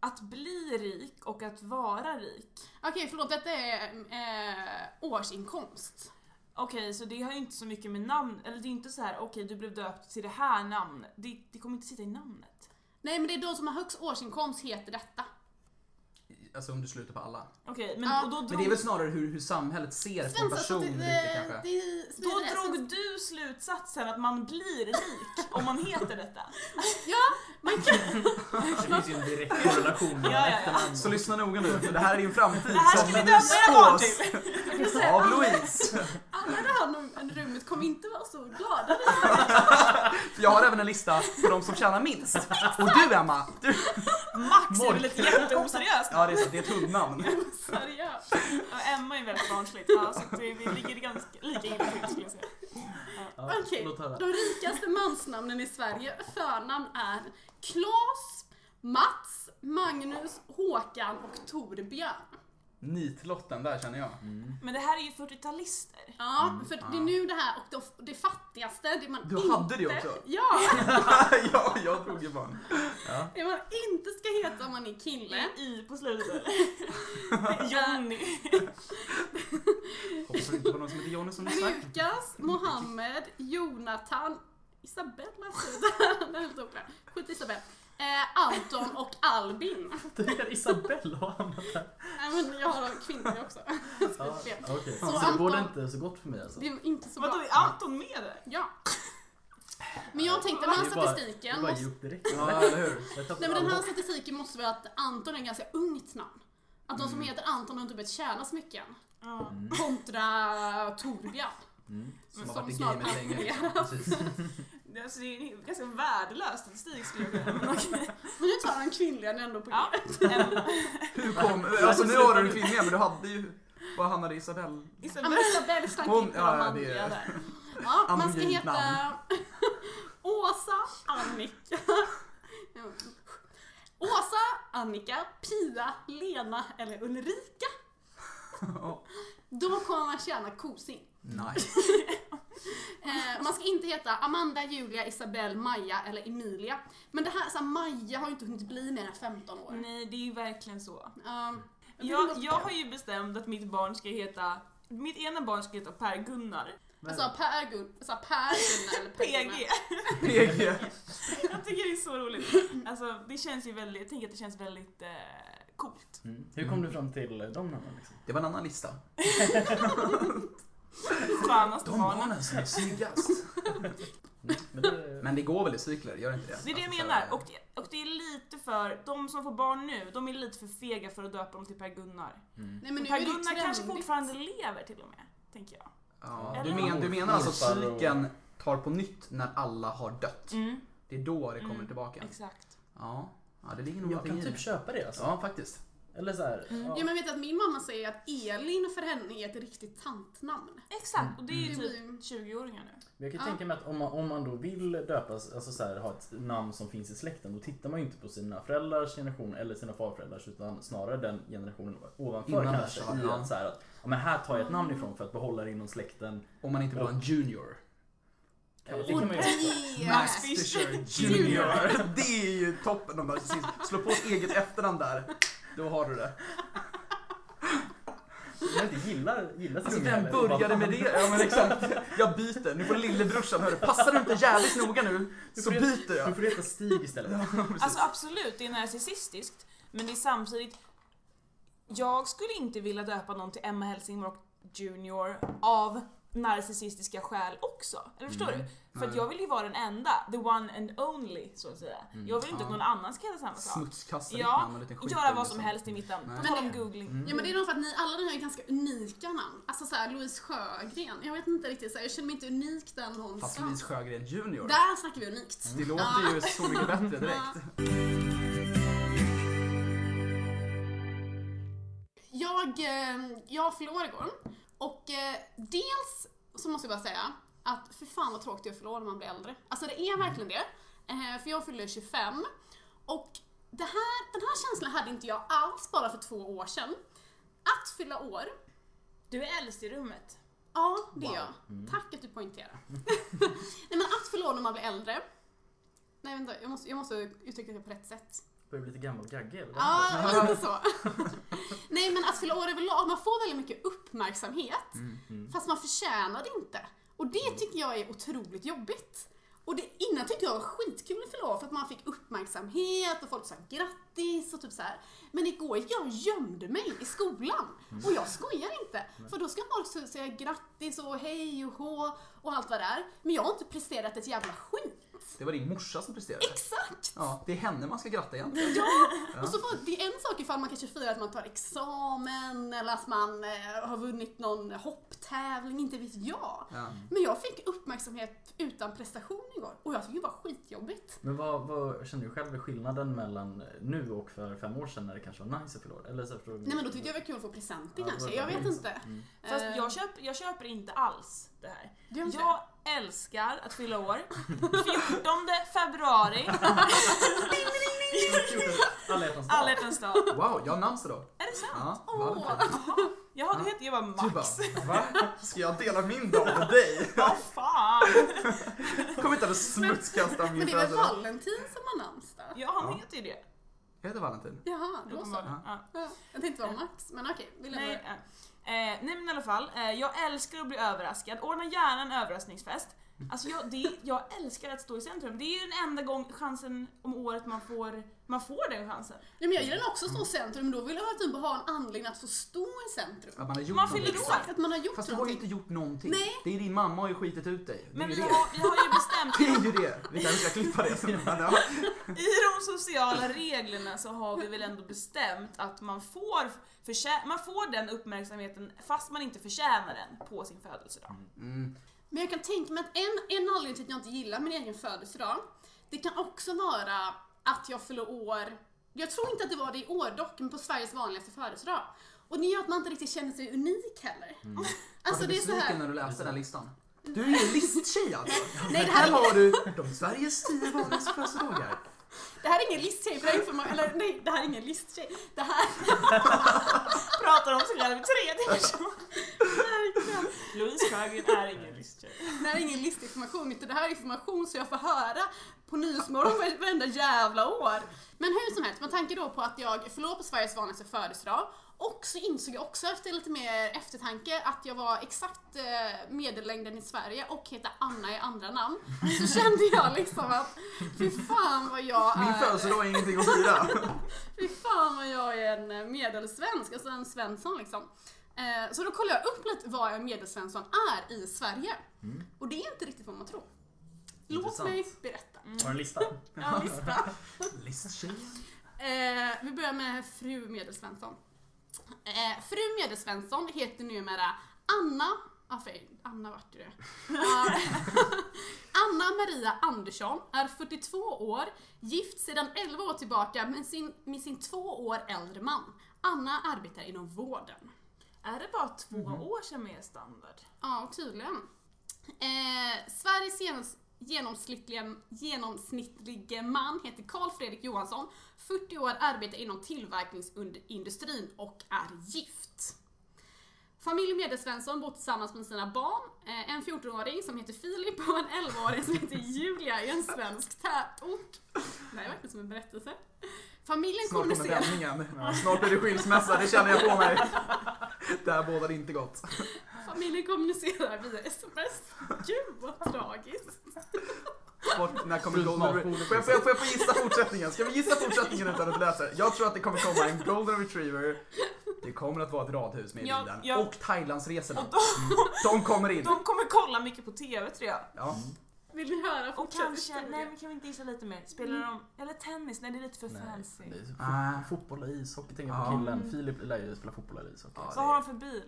Speaker 1: att bli rik och att vara rik.
Speaker 2: Okej, förlåt, detta är eh, årsinkomst.
Speaker 1: Okej, så det har ju inte så mycket med namn, eller det är inte så här, okej du blev döpt till det här namnet. Det, det kommer inte sitta i namnet.
Speaker 2: Nej, men det är de som har högst årsinkomst heter detta.
Speaker 4: Alltså om du slutar på alla.
Speaker 1: Okej, men
Speaker 2: Ja.
Speaker 1: och då
Speaker 4: Men det är
Speaker 1: drog,
Speaker 4: väl snarare hur, hur samhället ser på en
Speaker 2: Svensson,
Speaker 4: person
Speaker 2: det,
Speaker 4: lite
Speaker 2: det,
Speaker 4: kanske.
Speaker 2: det,
Speaker 1: då
Speaker 2: det-
Speaker 1: drog du slutsatsen att man blir rik om man heter detta.
Speaker 2: Man kan,
Speaker 3: Det finns ju en direkt korrelation mellan
Speaker 1: Ja, ja, ja.
Speaker 3: efternamn
Speaker 4: Så lyssna noga nu, för det här är din framtid
Speaker 1: Det här
Speaker 4: som
Speaker 1: ska vi döpa era barn till!
Speaker 2: typ.
Speaker 4: spås av Louise.
Speaker 2: alla i det här num- rummet kommer inte vara så glada.
Speaker 4: För jag har även en lista på de som tjänar minst. Och du Emma, du...
Speaker 1: Max är väl ett jätteoseriöst
Speaker 4: Ja det är sant, det är ett hundnamn.
Speaker 2: Seriöst.
Speaker 1: Och Emma är väldigt barnsligt, ja, så att vi, vi ligger ganska lika illa till skulle jag säga.
Speaker 3: Ja,
Speaker 2: Okej,
Speaker 3: låt höra.
Speaker 2: de rikaste mansnamnen i Sverige, förnamn är Klas, Mats, Magnus, Håkan och Torbjörn.
Speaker 4: Nitlotten där känner jag.
Speaker 1: Men det här är ju 40-talister.
Speaker 2: Ja, för det är nu det här och det, det fattigaste, det man
Speaker 4: Du
Speaker 2: inte...
Speaker 4: hade det också?
Speaker 2: Ja!
Speaker 4: ja, jag drog ju fan.
Speaker 2: Det man inte ska heta om man är kille.
Speaker 1: Med i på slutet. Johnny.
Speaker 4: Hoppas det inte var någon som heter Johnny som du sagt.
Speaker 2: Lukas, Mohammed, Jonathan, Isabella stod där. Den stod där. Skit i Isabella. Eh, Anton och Albin.
Speaker 5: Där Isabella har hamnat där.
Speaker 2: Nej men jag har kvinnor också.
Speaker 5: Ja,
Speaker 2: Fel.
Speaker 5: okej.
Speaker 2: Så
Speaker 5: Så det går det
Speaker 2: Anton-
Speaker 5: inte så gott för mig alltså.
Speaker 2: Det är inte så
Speaker 1: Vadå,
Speaker 2: bra.
Speaker 1: är Anton med där?
Speaker 2: Ja. Men jag tänkte den här
Speaker 5: Det är bara- Det
Speaker 2: statistiken
Speaker 5: bara
Speaker 2: måste...
Speaker 5: ge upp direkt.
Speaker 4: Ja, eller hur?
Speaker 5: Jag tappar
Speaker 2: Nej men den
Speaker 5: all
Speaker 2: här
Speaker 5: hopp.
Speaker 2: statistiken måste vara att Anton är ett ganska ungt namn. Att de som heter Anton har inte börjat tjäna så mycket än.
Speaker 1: Ja.
Speaker 5: Mm,
Speaker 2: Kontra Torbjörn.
Speaker 4: Som, har
Speaker 2: Som
Speaker 4: varit i
Speaker 2: snart
Speaker 4: gamet länge. Liksom.
Speaker 2: allierar.
Speaker 4: Precis.
Speaker 1: Det- Alltså, det är en ganska värdelös statistik skulle jag säga. Men okej.
Speaker 2: Men nu tar han kvinnligan ändå på
Speaker 1: Ja.
Speaker 2: ja.
Speaker 1: En-
Speaker 4: Hur kom, alltså nu har du en kvinna men du hade ju, vad hamnade Isabelle?
Speaker 2: Ja,
Speaker 1: Isabella.
Speaker 2: men Isabelle stank
Speaker 4: Hon-
Speaker 2: inte
Speaker 4: ja,
Speaker 2: ja,
Speaker 4: ja, det-
Speaker 2: manliga där. Ja, man ska
Speaker 4: Anonymt
Speaker 2: heta Åsa, Annika. Åsa, Annika, Pia, Lena eller Ulrika.
Speaker 4: Ja.
Speaker 2: Då kommer man tjäna kosing.
Speaker 4: Nice.
Speaker 2: Eh, man ska inte heta Amanda, Julia, Isabelle, Maja eller Emilia. Men det här, så här, Maja har ju inte hunnit bli mer än 15 år.
Speaker 1: Nej, det är ju verkligen så.
Speaker 2: Um,
Speaker 1: Jag, jag har ju bestämt att mitt barn ska heta mitt ena barn ska heta Per-Gunnar.
Speaker 2: Alltså Per Gun, alltså Per Gunnar eller Per Gunnar.
Speaker 1: PG.
Speaker 4: PG.
Speaker 1: Jag tycker det är så roligt. Alltså, det känns ju väldigt, jag tänker att det känns väldigt eh, coolt.
Speaker 5: Mm. Hur kom du fram till de namnen liksom?
Speaker 4: Det var en annan lista.
Speaker 1: Skönaste
Speaker 4: De
Speaker 1: barnen.
Speaker 4: barnen som är snyggast.
Speaker 5: Men det...
Speaker 4: Men det går väl i cykler, gör det inte det?
Speaker 1: Det är det jag
Speaker 4: Alltså, så
Speaker 1: menar.
Speaker 4: här-
Speaker 1: Och, det- och det är lite för, de som får barn nu, de är lite för fega för att döpa dem till Per-Gunnar.
Speaker 2: Nej men nu är det ju
Speaker 1: Per-Gunnar kanske
Speaker 2: trendigt.
Speaker 1: fortfarande lever till och med, tänker jag.
Speaker 4: Ja, du,
Speaker 1: Eller-
Speaker 4: men, du menar alltså att
Speaker 5: Morfar och-
Speaker 4: cykeln tar på nytt när alla har dött?
Speaker 1: Mm,
Speaker 4: Det är då det kommer
Speaker 1: Mm.
Speaker 4: tillbaka?
Speaker 1: exakt.
Speaker 4: Ja. ja, det ligger nog
Speaker 5: Jag
Speaker 4: någonting
Speaker 5: kan
Speaker 4: i
Speaker 5: typ
Speaker 4: det.
Speaker 5: köpa det alltså.
Speaker 4: Ja, faktiskt.
Speaker 5: Eller så här,
Speaker 1: Mm.
Speaker 5: ja.
Speaker 2: Ja men vet du att min mamma säger att Elin för henne är ett riktigt tantnamn.
Speaker 1: Exakt, och det är ju
Speaker 2: Mm.
Speaker 1: typ 20-åringar nu.
Speaker 5: Men Jag kan
Speaker 2: Ja.
Speaker 5: tänka mig att om man, om man då vill döpas, alltså så här, ha ett namn som finns i släkten, då tittar man ju inte på sina föräldrars generation eller sina farföräldrars utan snarare den generationen ovanför
Speaker 4: Innan
Speaker 5: kanske.
Speaker 4: dess,
Speaker 5: I
Speaker 4: ja.
Speaker 5: att så här, att, ja, men här tar jag ett namn ifrån för att behålla det inom släkten.
Speaker 4: Om man inte vill ha en junior.
Speaker 5: Ja, det kan man ju också.
Speaker 2: Yes.
Speaker 4: Fisher
Speaker 2: Junior.
Speaker 4: Det är ju toppen av narcissism. Slå på ett eget efternamn där. Då har du det.
Speaker 5: Om man inte gillar, gillar sin unge
Speaker 4: Alltså vem
Speaker 5: heller, bara,
Speaker 4: började med
Speaker 5: "Fan,
Speaker 4: det? Ja men exakt. Jag byter. Nu får lillebrorsan höra. Passar du inte jävligt noga nu
Speaker 5: Du
Speaker 4: så
Speaker 5: får-
Speaker 4: byter
Speaker 5: Du
Speaker 4: jag.
Speaker 5: får heta Stig istället.
Speaker 1: Alltså absolut, det är narcissistiskt. Men det är samtidigt... Jag skulle inte vilja döpa någon till Emma Helsingborg Junior av narcissistiska skäl också. Eller förstår
Speaker 5: Mm.
Speaker 1: du? För att
Speaker 4: Nej.
Speaker 1: jag vill ju vara den enda, the one and only, så att säga. Jag vill inte att
Speaker 4: Ja.
Speaker 1: någon annan ska heta samma sak.
Speaker 4: Smutskasta ditt
Speaker 1: Alltså, Ja,
Speaker 4: namn och lite skit. liksom.
Speaker 1: göra vad som helst i mitt namn.
Speaker 4: Nej.
Speaker 1: På tal om googling.
Speaker 2: Ja men Mm. det är nog för att ni alla ni har ju ganska unika namn. Alltså såhär Louise Sjögren, jag vet inte riktigt såhär, jag känner mig inte unik där
Speaker 4: Fast
Speaker 2: någonstans.
Speaker 4: Louise Sjögren junior.
Speaker 2: Där snackar vi unikt.
Speaker 4: Det låter ju så mycket bättre direkt.
Speaker 2: Jag, eh, jag förlorade igår och eh, dels så måste jag bara säga att för fan vad tråkigt det är att förlora när man blir äldre. Alltså det är verkligen det. Eh, För jag fyller 25 och det här, den här känslan hade inte jag alls bara för två år sedan. Att fylla år,
Speaker 1: Du är äldst i rummet.
Speaker 2: ja det är jag. Tack att du poängterar. Nej men att förlora när man blir äldre. Nej vänta, jag måste, jag måste uttrycka det på rätt sätt.
Speaker 5: Börjar bli lite gammal gagge eller?
Speaker 2: Ja, lite så. Nej men att fylla år överlag, man får väldigt mycket uppmärksamhet fast man förtjänar det inte. Och det tycker jag är otroligt jobbigt. Och det, innan tyckte jag det var skitkul att fylla år för att man fick uppmärksamhet och folk sa grattis och typ så här. Men igår gick jag och gömde mig i skolan och jag skojar inte. För då ska folk så- säga grattis och hej och hå och allt vad det är. Men jag har inte presterat ett jävla skit.
Speaker 4: Det var din morsa som presterade.
Speaker 2: Exakt!
Speaker 4: Ja, det är henne man ska gratta egentligen.
Speaker 2: Ja! Och så får, det är en sak ifall man kanske firar att man tar examen eller att man eh, har vunnit någon hopptävling, inte vet jag.
Speaker 4: Ja.
Speaker 2: Men jag fick uppmärksamhet utan prestation igår och jag tycker det var
Speaker 4: Mm.
Speaker 2: skitjobbigt.
Speaker 5: Men vad, vad känner du själv är skillnaden mellan nu och för fem år sedan när det kanske var nice att förlora? Eller så här, förstår du?
Speaker 2: Nej men då tyckte jag det var kul att få presenter
Speaker 5: Ja, det
Speaker 2: kanske,
Speaker 5: var
Speaker 2: jag vet
Speaker 5: roligt.
Speaker 2: inte.
Speaker 5: Mm.
Speaker 1: Fast
Speaker 2: Eh,
Speaker 1: jag, köp, jag köper inte alls det här.
Speaker 2: du gör inte
Speaker 1: Jag älskar att fylla år. 14 februari,
Speaker 5: Alla hjärtans dag.
Speaker 1: alla hjärtans dag.
Speaker 4: Wow, jag har namnsdag idag.
Speaker 1: Är det sant?
Speaker 4: Ja,
Speaker 2: Åh!
Speaker 4: Valentine.
Speaker 1: Jaha, du heter, jag var
Speaker 4: Du
Speaker 1: Max.
Speaker 4: bara, va?
Speaker 5: Ska jag dela min dag med dig?
Speaker 1: Vad fan?
Speaker 5: Kom inte och smutskasta
Speaker 2: Men det är väl Valentin som har namnsdag?
Speaker 1: Ja, han
Speaker 4: Ja.
Speaker 1: heter ju det.
Speaker 4: Jag heter Valentin.
Speaker 2: Jaha, då så.
Speaker 1: uppenbarligen. Ja.
Speaker 2: Ja, Jag tänkte det var Max, men okej. Vill jag
Speaker 1: Nej,
Speaker 2: bara...
Speaker 1: eh, eh, nej men i alla fall, eh, jag älskar att bli överraskad. Ordna gärna en överraskningsfest. Alltså jag, det, jag älskar att stå i centrum. Det är ju den enda gång chansen om året man får, man får den chansen.
Speaker 2: Ja, men jag gillar också att stå i
Speaker 4: Mm.
Speaker 2: centrum, men då vill jag typ ha en anledning att få stå i centrum.
Speaker 4: Att man har gjort
Speaker 1: Man fyller
Speaker 4: någonting.
Speaker 1: år.
Speaker 2: Exakt, att man har gjort
Speaker 4: Fast du har ju
Speaker 2: någonting.
Speaker 4: inte gjort någonting.
Speaker 2: Nej.
Speaker 4: Det är din mamma har ju skitit ut dig. Det är
Speaker 1: Men
Speaker 4: ju
Speaker 1: vi
Speaker 4: det.
Speaker 1: har, vi har ju bestämt,
Speaker 4: Det är ju det. Vi kanske ska klippa det sen. Men ja.
Speaker 1: i de sociala reglerna så har vi väl ändå bestämt att man får, förtjä- man får den uppmärksamheten fast man inte förtjänar den på sin födelsedag.
Speaker 4: Mm.
Speaker 2: Men jag kan tänka mig att en, en anledning till att jag inte gillar min egen födelsedag, det kan också vara att jag fyller år, jag tror inte att det var det i år dock, men på Sveriges vanligaste födelsedag. Och det gör att man inte riktigt känner sig unik heller. Alltså
Speaker 4: Var du
Speaker 2: det är så
Speaker 4: Mm. besviken
Speaker 2: här.
Speaker 4: när du läste den listan? Du är ju en listtjej alltså.
Speaker 2: Nej det här,
Speaker 4: Här
Speaker 2: är-
Speaker 4: har du de Sveriges tio vanligaste födelsedagar.
Speaker 2: det här är ingen listtjej, för det här är för många, eller nej det här är ingen listtjej. Det här,
Speaker 1: Pratar om sig själv i tredje person. Verkligen. Louise Sjögren är ingen listtjej.
Speaker 2: det här är ingen listinformation, utan det här är information som jag får höra på Nyhetsmorgon var- varenda jävla år. Men hur som helst, med tanke då på att jag förlorade på Sveriges vanligaste födelsedag och så insåg jag också efter lite mer eftertanke att jag var exakt eh, medellängden i Sverige och heter Anna i andra namn. Så kände jag liksom att fy fan vad jag är...
Speaker 4: Min födelsedag är ingenting att fira.
Speaker 2: Fy fan vad jag är en eh, medelsvensk, alltså en svensson liksom. Eh, Så då kollade jag upp lite vad en medelsvensson är i Sverige. Och det är inte riktigt vad man tror. Låt
Speaker 5: Intressant.
Speaker 2: mig berätta.
Speaker 3: Mm.
Speaker 5: Har du en lista?
Speaker 2: Ja, lista.
Speaker 4: Listtjejen.
Speaker 2: Eh, vi börjar med fru Medelsvensson. Eh, fru Medelsvensson heter numera Anna, ah, för, Anna vart det. Ja. Anna Maria Andersson är 42 år, gift sedan 11 år tillbaka med sin, med sin två år äldre man. Anna arbetar inom vården.
Speaker 1: Är det bara två år sedan vi är standard?
Speaker 2: Ja, tydligen. Eh, Sveriges genos- genomsnittliga, genomsnittlige man heter Karl Fredrik Johansson, 40 år, arbetar inom tillverkningsindustrin och är gift. Familjen Medelsvensson bor tillsammans med sina barn, eh, en 14-åring som heter Filip och en 11-åring som heter Julia i en svensk tätort. Det här är verkligen som en berättelse. Familjen
Speaker 4: Snart kommer
Speaker 2: kommunicerar...
Speaker 4: vändningen. Snart blir det skilsmässa, det känner jag på mig. Det här bådar inte gott.
Speaker 2: Familjen kommunicerar via sms. Gud vad tragiskt.
Speaker 4: Bort, när kommer
Speaker 5: Frukt,
Speaker 4: Golden
Speaker 5: mat,
Speaker 4: Re-
Speaker 5: bordet.
Speaker 4: får, jag, får, jag, får jag få gissa fortsättningen? Ska vi gissa fortsättningen utan att läsa? Jag tror att det kommer komma en Golden Retriever. Det kommer att vara ett radhus med i
Speaker 1: Ja,
Speaker 4: bilden.
Speaker 1: ja.
Speaker 4: Och Thailandsresorna.
Speaker 1: Och då,
Speaker 4: De kommer in.
Speaker 1: de kommer kolla mycket på TV tror jag.
Speaker 4: Ja.
Speaker 5: Mm.
Speaker 2: Vill ni höra
Speaker 1: Och
Speaker 2: fortsatt
Speaker 1: kanske,
Speaker 2: historia?
Speaker 1: nej men kan vi inte gissa lite mer? Spelar de, eller tennis? Nej det är lite för fancy.
Speaker 5: Nej, fo-
Speaker 4: Ah.
Speaker 5: Fotboll och ishockey tänker jag
Speaker 4: Ja.
Speaker 5: på
Speaker 2: Mm.
Speaker 5: killen. Filip lär ju spela fotboll eller ishockey.
Speaker 4: Ja,
Speaker 1: Vad har de för bil?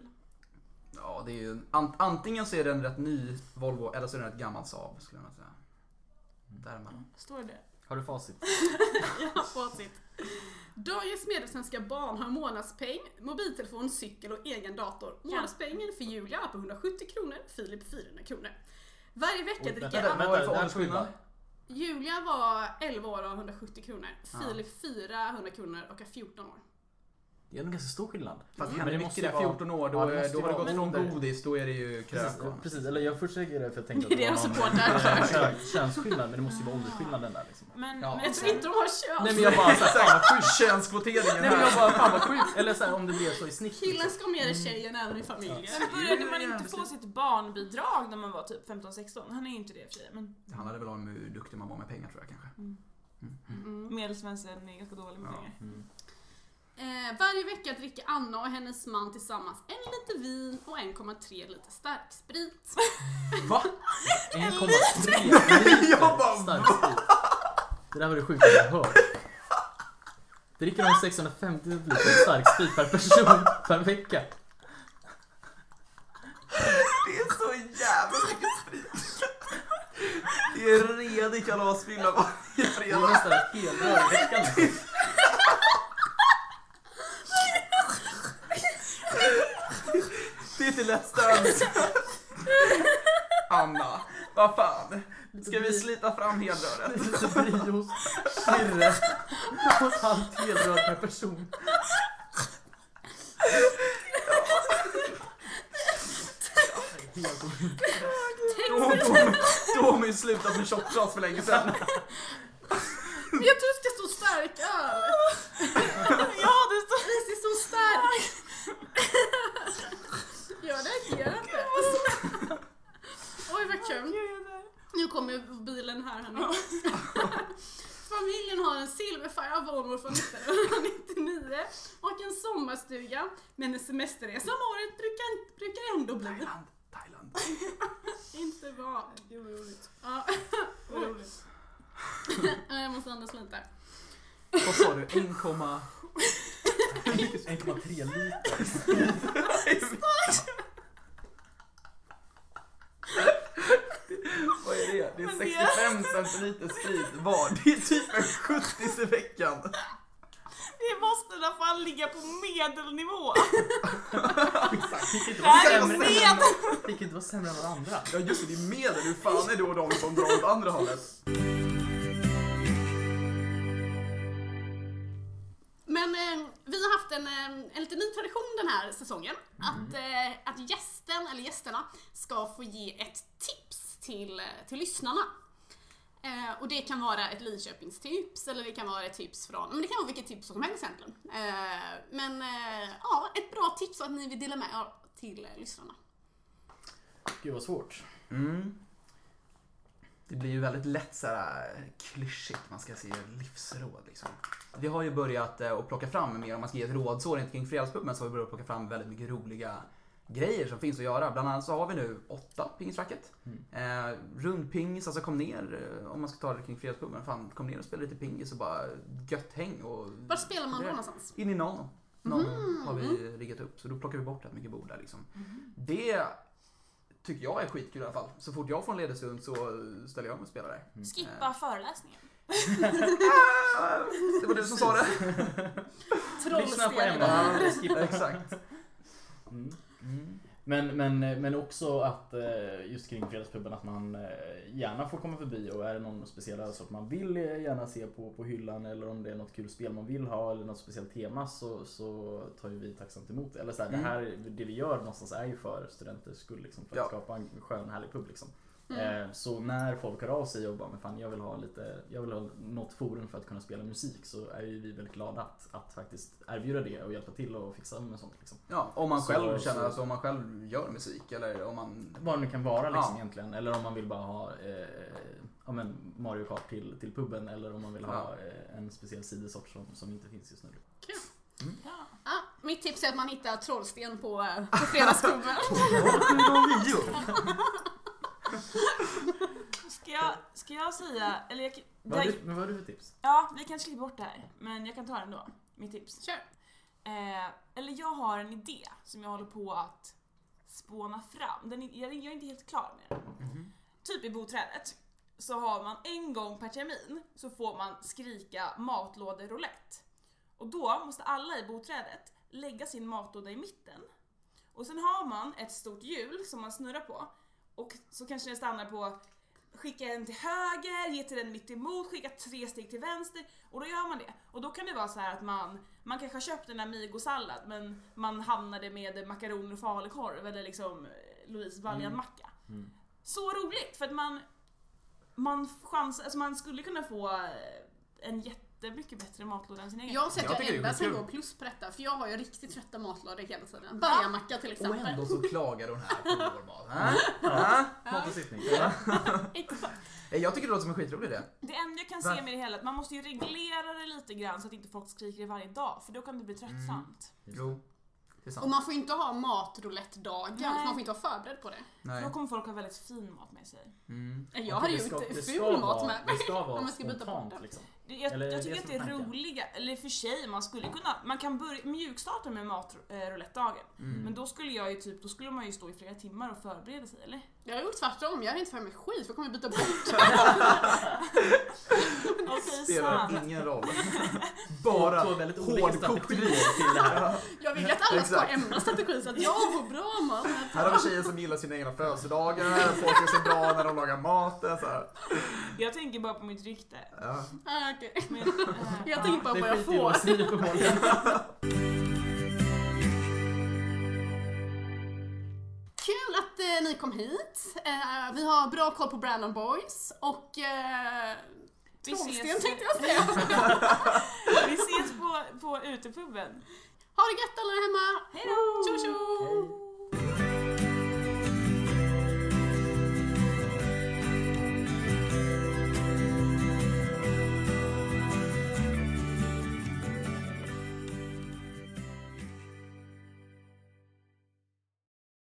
Speaker 4: Ja, det är ju en, an, antingen så är det en rätt ny Volvo eller så är det en rätt gammal Saab skulle jag vilja säga. Där är man.
Speaker 1: Står det det?
Speaker 5: Har du facit?
Speaker 2: Ja, facit. Dagens medelsvenska barn har månadspeng, mobiltelefon, cykel och egen dator. Månadspengen för Julia är på 170 kronor, Filip 400 kronor. Varje vecka
Speaker 5: Oj,
Speaker 2: dricker
Speaker 5: vänta,
Speaker 2: Anna...
Speaker 5: vänta.
Speaker 4: Vad är det för
Speaker 5: där
Speaker 4: åldersskillnad?
Speaker 2: Julia var 11 år och har 170 kronor.
Speaker 4: Ja.
Speaker 2: Filip 400 kronor och är 14 år.
Speaker 5: Det är en ganska stor skillnad.
Speaker 4: Fast det
Speaker 5: Men
Speaker 4: händer
Speaker 5: det
Speaker 4: mycket
Speaker 5: måste
Speaker 4: där,
Speaker 5: ju vara-
Speaker 4: 14 år, då,
Speaker 5: Ja, det måste
Speaker 4: då
Speaker 5: ju
Speaker 4: har det
Speaker 5: vara
Speaker 4: gått från
Speaker 5: ålder.
Speaker 4: godis, då är det ju
Speaker 5: Precis,
Speaker 4: krökor.
Speaker 5: precis, eller jag först säger det för jag tänkte
Speaker 2: Det är deras supportrar.
Speaker 5: kön- könsskillnad men det måste ju vara åldersskillnaden där liksom.
Speaker 1: Men,
Speaker 4: Ja.
Speaker 1: men
Speaker 2: Jag tror inte de har kön.
Speaker 5: Nej men jag bara såhär, fan vad sjukt.
Speaker 4: Könskvoteringen
Speaker 5: Nej men jag
Speaker 4: här.
Speaker 5: bara, fan vad sjukt. Eller såhär om det blir så i snitt. liksom.
Speaker 2: Killen ska ha med dig tjejen
Speaker 5: Mm.
Speaker 2: även i familjen.
Speaker 1: men började man
Speaker 4: Ja,
Speaker 1: inte
Speaker 4: precis.
Speaker 1: få sitt barnbidrag när man var typ 15-16? Han är ju inte det i och för sig men
Speaker 4: Det handlade väl om hur duktig man var med pengar tror jag kanske.
Speaker 2: Mm.
Speaker 1: medelsvensken är ganska dålig med
Speaker 4: Ja.
Speaker 1: pengar.
Speaker 5: Mm.
Speaker 2: Eh, varje vecka dricker Anna och hennes man tillsammans en liter vin och 1,3 liter starksprit.
Speaker 4: Va?
Speaker 5: 1,3
Speaker 4: Jag bara,
Speaker 5: liter stark sprit. Det där var det sjukaste jag hört. Dricker de 650 liter stark sprit per person per vecka?
Speaker 4: Det är så jävla mycket sprit. Det är redig kalasfylla varje
Speaker 5: Det är
Speaker 4: fredag.
Speaker 5: nästan hela veckan. liksom.
Speaker 4: Det är till Let's Dance. Anna, vad fan. Ska vi slita fram helröret?
Speaker 5: Lite brioche, kirre och ett halvt helrör per person.
Speaker 4: kommer ju sluta som shotglas för länge sedan.
Speaker 2: Men jag tror det ska stå stark öl.
Speaker 1: ja, det står...
Speaker 2: Det ska stå stark. Jag reagerar inte. Oj vad kul. Nu kommer bilen här hörni. Familjen har en silverfärgad Volvo från 1999 och en sommarstuga. Men en semesterresa om året brukar, brukar ändå bli.
Speaker 4: Thailand, Thailand.
Speaker 2: Inte vad.
Speaker 1: Gud vad roligt.
Speaker 2: Ja.
Speaker 1: Vad roligt.
Speaker 2: Ja, Jag måste andas lite.
Speaker 4: Vad sa du? 1,...
Speaker 3: 1,3 liter.
Speaker 4: Vad är det? Det
Speaker 1: Men
Speaker 4: är 65 centiliter sprit var. Det är typ en 70 i veckan.
Speaker 1: Det måste i alla fall ligga på medelnivå.
Speaker 3: Fick inte
Speaker 1: Det
Speaker 3: vara
Speaker 1: här är
Speaker 3: sämre,
Speaker 1: medel.
Speaker 3: fick inte vara sämre än varandra.
Speaker 4: Ja just det, det är medel. Hur fan är då de som drar åt andra hållet?
Speaker 2: Men eh, vi har haft en, eh, en lite ny tradition den här säsongen. Att, eh, att gästen, eller gästerna, ska få ge ett tips till, eh, till lyssnarna. Eh, och det kan vara ett Linköpingstips eller det kan vara ett tips från, men det kan vara vilket tips som helst egentligen. Eh, men eh, ja, ett bra tips att ni vill dela med er till eh, lyssnarna.
Speaker 3: Gud vad svårt.
Speaker 4: Mm. Det blir ju väldigt lätt så här eh, klyschigt. Man ska se livsråd liksom. Vi har ju börjat eh, att plocka fram mer, om man ska ge ett råd så rent kring Fredagspuben så har vi börjat plocka fram väldigt mycket roliga grejer som finns att göra. Bland annat så har vi nu åtta pingisracket. Eh, rundpingis, alltså kom ner eh, om man ska ta det kring Fredagspuben. Fan, kom ner och spela lite pingis och bara gött häng och
Speaker 2: Var spelar man då
Speaker 4: Mm. Det-
Speaker 2: någonstans?
Speaker 4: In i Nano. Nano har vi riggat upp, så då plockar vi bort rätt mycket bord där liksom. Det tycker jag är skitkul i alla fall. Så fort jag får en ledig stund så ställer jag mig och spelar där.
Speaker 3: Mm.
Speaker 1: Skippa föreläsningen.
Speaker 4: Det var du som sa det.
Speaker 3: Lyssna på
Speaker 2: Trollspel.
Speaker 3: Emma.
Speaker 4: Ja,
Speaker 3: Skippa.
Speaker 4: Exakt.
Speaker 3: Mm. Men, men, men också att eh, just kring Fredagspuben att man eh, gärna får komma förbi och är det någon speciell ölsort man vill eh, gärna se på, på hyllan eller om det är något kul spel man vill ha eller något speciellt tema så, så tar ju vi tacksamt emot det. Eller så här,
Speaker 4: Mm.
Speaker 3: det här, det vi gör någonstans är ju för studenters skull liksom, för att
Speaker 4: Ja. Mm.
Speaker 3: skapa en skön härlig pub liksom. Eh, Så när folk hör av sig och bara men fan, jag vill ha lite, jag vill ha något forum för att kunna spela musik så är ju vi väldigt glada att, att faktiskt erbjuda det och hjälpa till och fixa med sånt liksom.
Speaker 4: Ja, om man
Speaker 3: Så-
Speaker 4: själv känner,
Speaker 3: så-
Speaker 4: alltså om man själv gör musik eller om man...
Speaker 3: Vad det nu kan vara liksom
Speaker 4: Ja.
Speaker 3: egentligen. Eller om man vill bara ha eh, ja, men Mario Kart till, till puben eller om man vill ha eh, en speciell sidosort som, som inte finns just nu.
Speaker 1: Ja.
Speaker 2: Ja, mitt tips är att man hittar trollsten på, eh, på Fredagsklubben.
Speaker 1: Ska jag, ska jag säga, eller jag,
Speaker 3: Vad har
Speaker 1: där,
Speaker 3: du, men vad har du för tips?
Speaker 1: Ja, vi kanske klipper bort det här. Men jag kan ta det ändå. Mitt tips.
Speaker 2: Kör.
Speaker 1: Eh, eller jag har en idé som jag håller på att spåna fram. Den, är- jag, jag är inte helt klar med den.
Speaker 3: Mhm.
Speaker 1: Typ i boträdet så har man en gång per termin så får man skrika matlåderoulette. Och då måste alla i boträdet lägga sin matlåda i mitten. Och sen har man ett stort hjul som man snurrar på och så kanske det stannar på skicka en till höger, ge till den mitt emot, skicka tre steg till vänster och då gör man det. Och då kan det vara så här att man, man kanske har köpt en amigosallad men man hamnade med makaroner och falukorv eller liksom eh, Louise Valjan-macka.
Speaker 3: Mm.
Speaker 1: Så roligt för att man, man chansar, alltså man skulle kunna få eh, en jättemycket bättre matlåda än sin egen.
Speaker 2: Jag har sett
Speaker 4: Jag
Speaker 2: jag,
Speaker 4: tycker det är
Speaker 2: enda som
Speaker 4: skitkul.
Speaker 2: går plus på detta, för jag har ju riktigt trötta matlådor hela tiden. Bärgmacka till
Speaker 4: Och
Speaker 2: exempel.
Speaker 4: ändå så klagar hon här på vår mat. Äh? Äh?
Speaker 3: Matbesittning.
Speaker 4: Nej, Eh, Jag tycker det låter som en skitrolig idé.
Speaker 1: Det enda jag kan se
Speaker 4: Ver-
Speaker 1: med det hela är att man måste ju reglera det lite grann så att inte folk skriker det varje dag för då kan det
Speaker 3: Mm.
Speaker 1: bli tröttsamt.
Speaker 4: Jo, det är
Speaker 2: Och
Speaker 4: sant.
Speaker 2: man får ju inte ha matroulette-dagen,
Speaker 1: Nej.
Speaker 2: för man får inte vara förberedd på det.
Speaker 4: Nej.
Speaker 1: Då kommer folk ha väldigt fin mat med sig.
Speaker 4: Mm.
Speaker 2: Jag hade ju
Speaker 3: Det ska-
Speaker 2: inte
Speaker 3: det ska
Speaker 2: ful mat
Speaker 3: vara-
Speaker 2: med
Speaker 3: Det ska
Speaker 2: Om
Speaker 3: vara
Speaker 2: man ska byta bort
Speaker 3: spontant
Speaker 2: den.
Speaker 3: liksom.
Speaker 1: Det- Jag,
Speaker 3: Eller är
Speaker 1: jag
Speaker 3: det
Speaker 1: tycker
Speaker 3: det
Speaker 1: att det
Speaker 3: som är
Speaker 1: är
Speaker 3: tanken?
Speaker 1: roliga, eller i och för sig man skulle kunna, man kan börja mjukstarta med matroulettdagen.
Speaker 4: Mm.
Speaker 1: Men då skulle jag ju typ, då skulle man ju stå i flera timmar och förbereda sig eller?
Speaker 2: Jag har gjort tvärtom, jag är inte för mig skit, för jag kommer byta bort
Speaker 1: Okej,
Speaker 4: Spelar
Speaker 1: sant.
Speaker 4: ingen roll.
Speaker 3: Bara hårdkokt till det här.
Speaker 2: Jag vill ju att alla ska ha
Speaker 4: Exakt.
Speaker 2: Emmas strategi så att jag får bra mat.
Speaker 4: Här har vi tjejer som gillar sina egna födelsedagar, folk är så bra när de lagar maten. Så här.
Speaker 1: Jag tänker bara på mitt rykte.
Speaker 4: Ja.
Speaker 2: Ah, okej.
Speaker 1: Men, eh,
Speaker 2: Jag tänker bara på vad jag
Speaker 3: skiter i
Speaker 2: får.
Speaker 3: vad säger uppenbarligen.
Speaker 2: Kul att eh, eh, ni kom hit. Eh, vi har bra koll på Brandon Boys och eh,
Speaker 1: Vi
Speaker 2: Trångsten
Speaker 1: ses,
Speaker 2: tänkte jag säga.
Speaker 1: vi ses på, på utepuben.
Speaker 2: Ha det gött alla där hemma!
Speaker 1: Hejdå!
Speaker 2: Tjo tjo!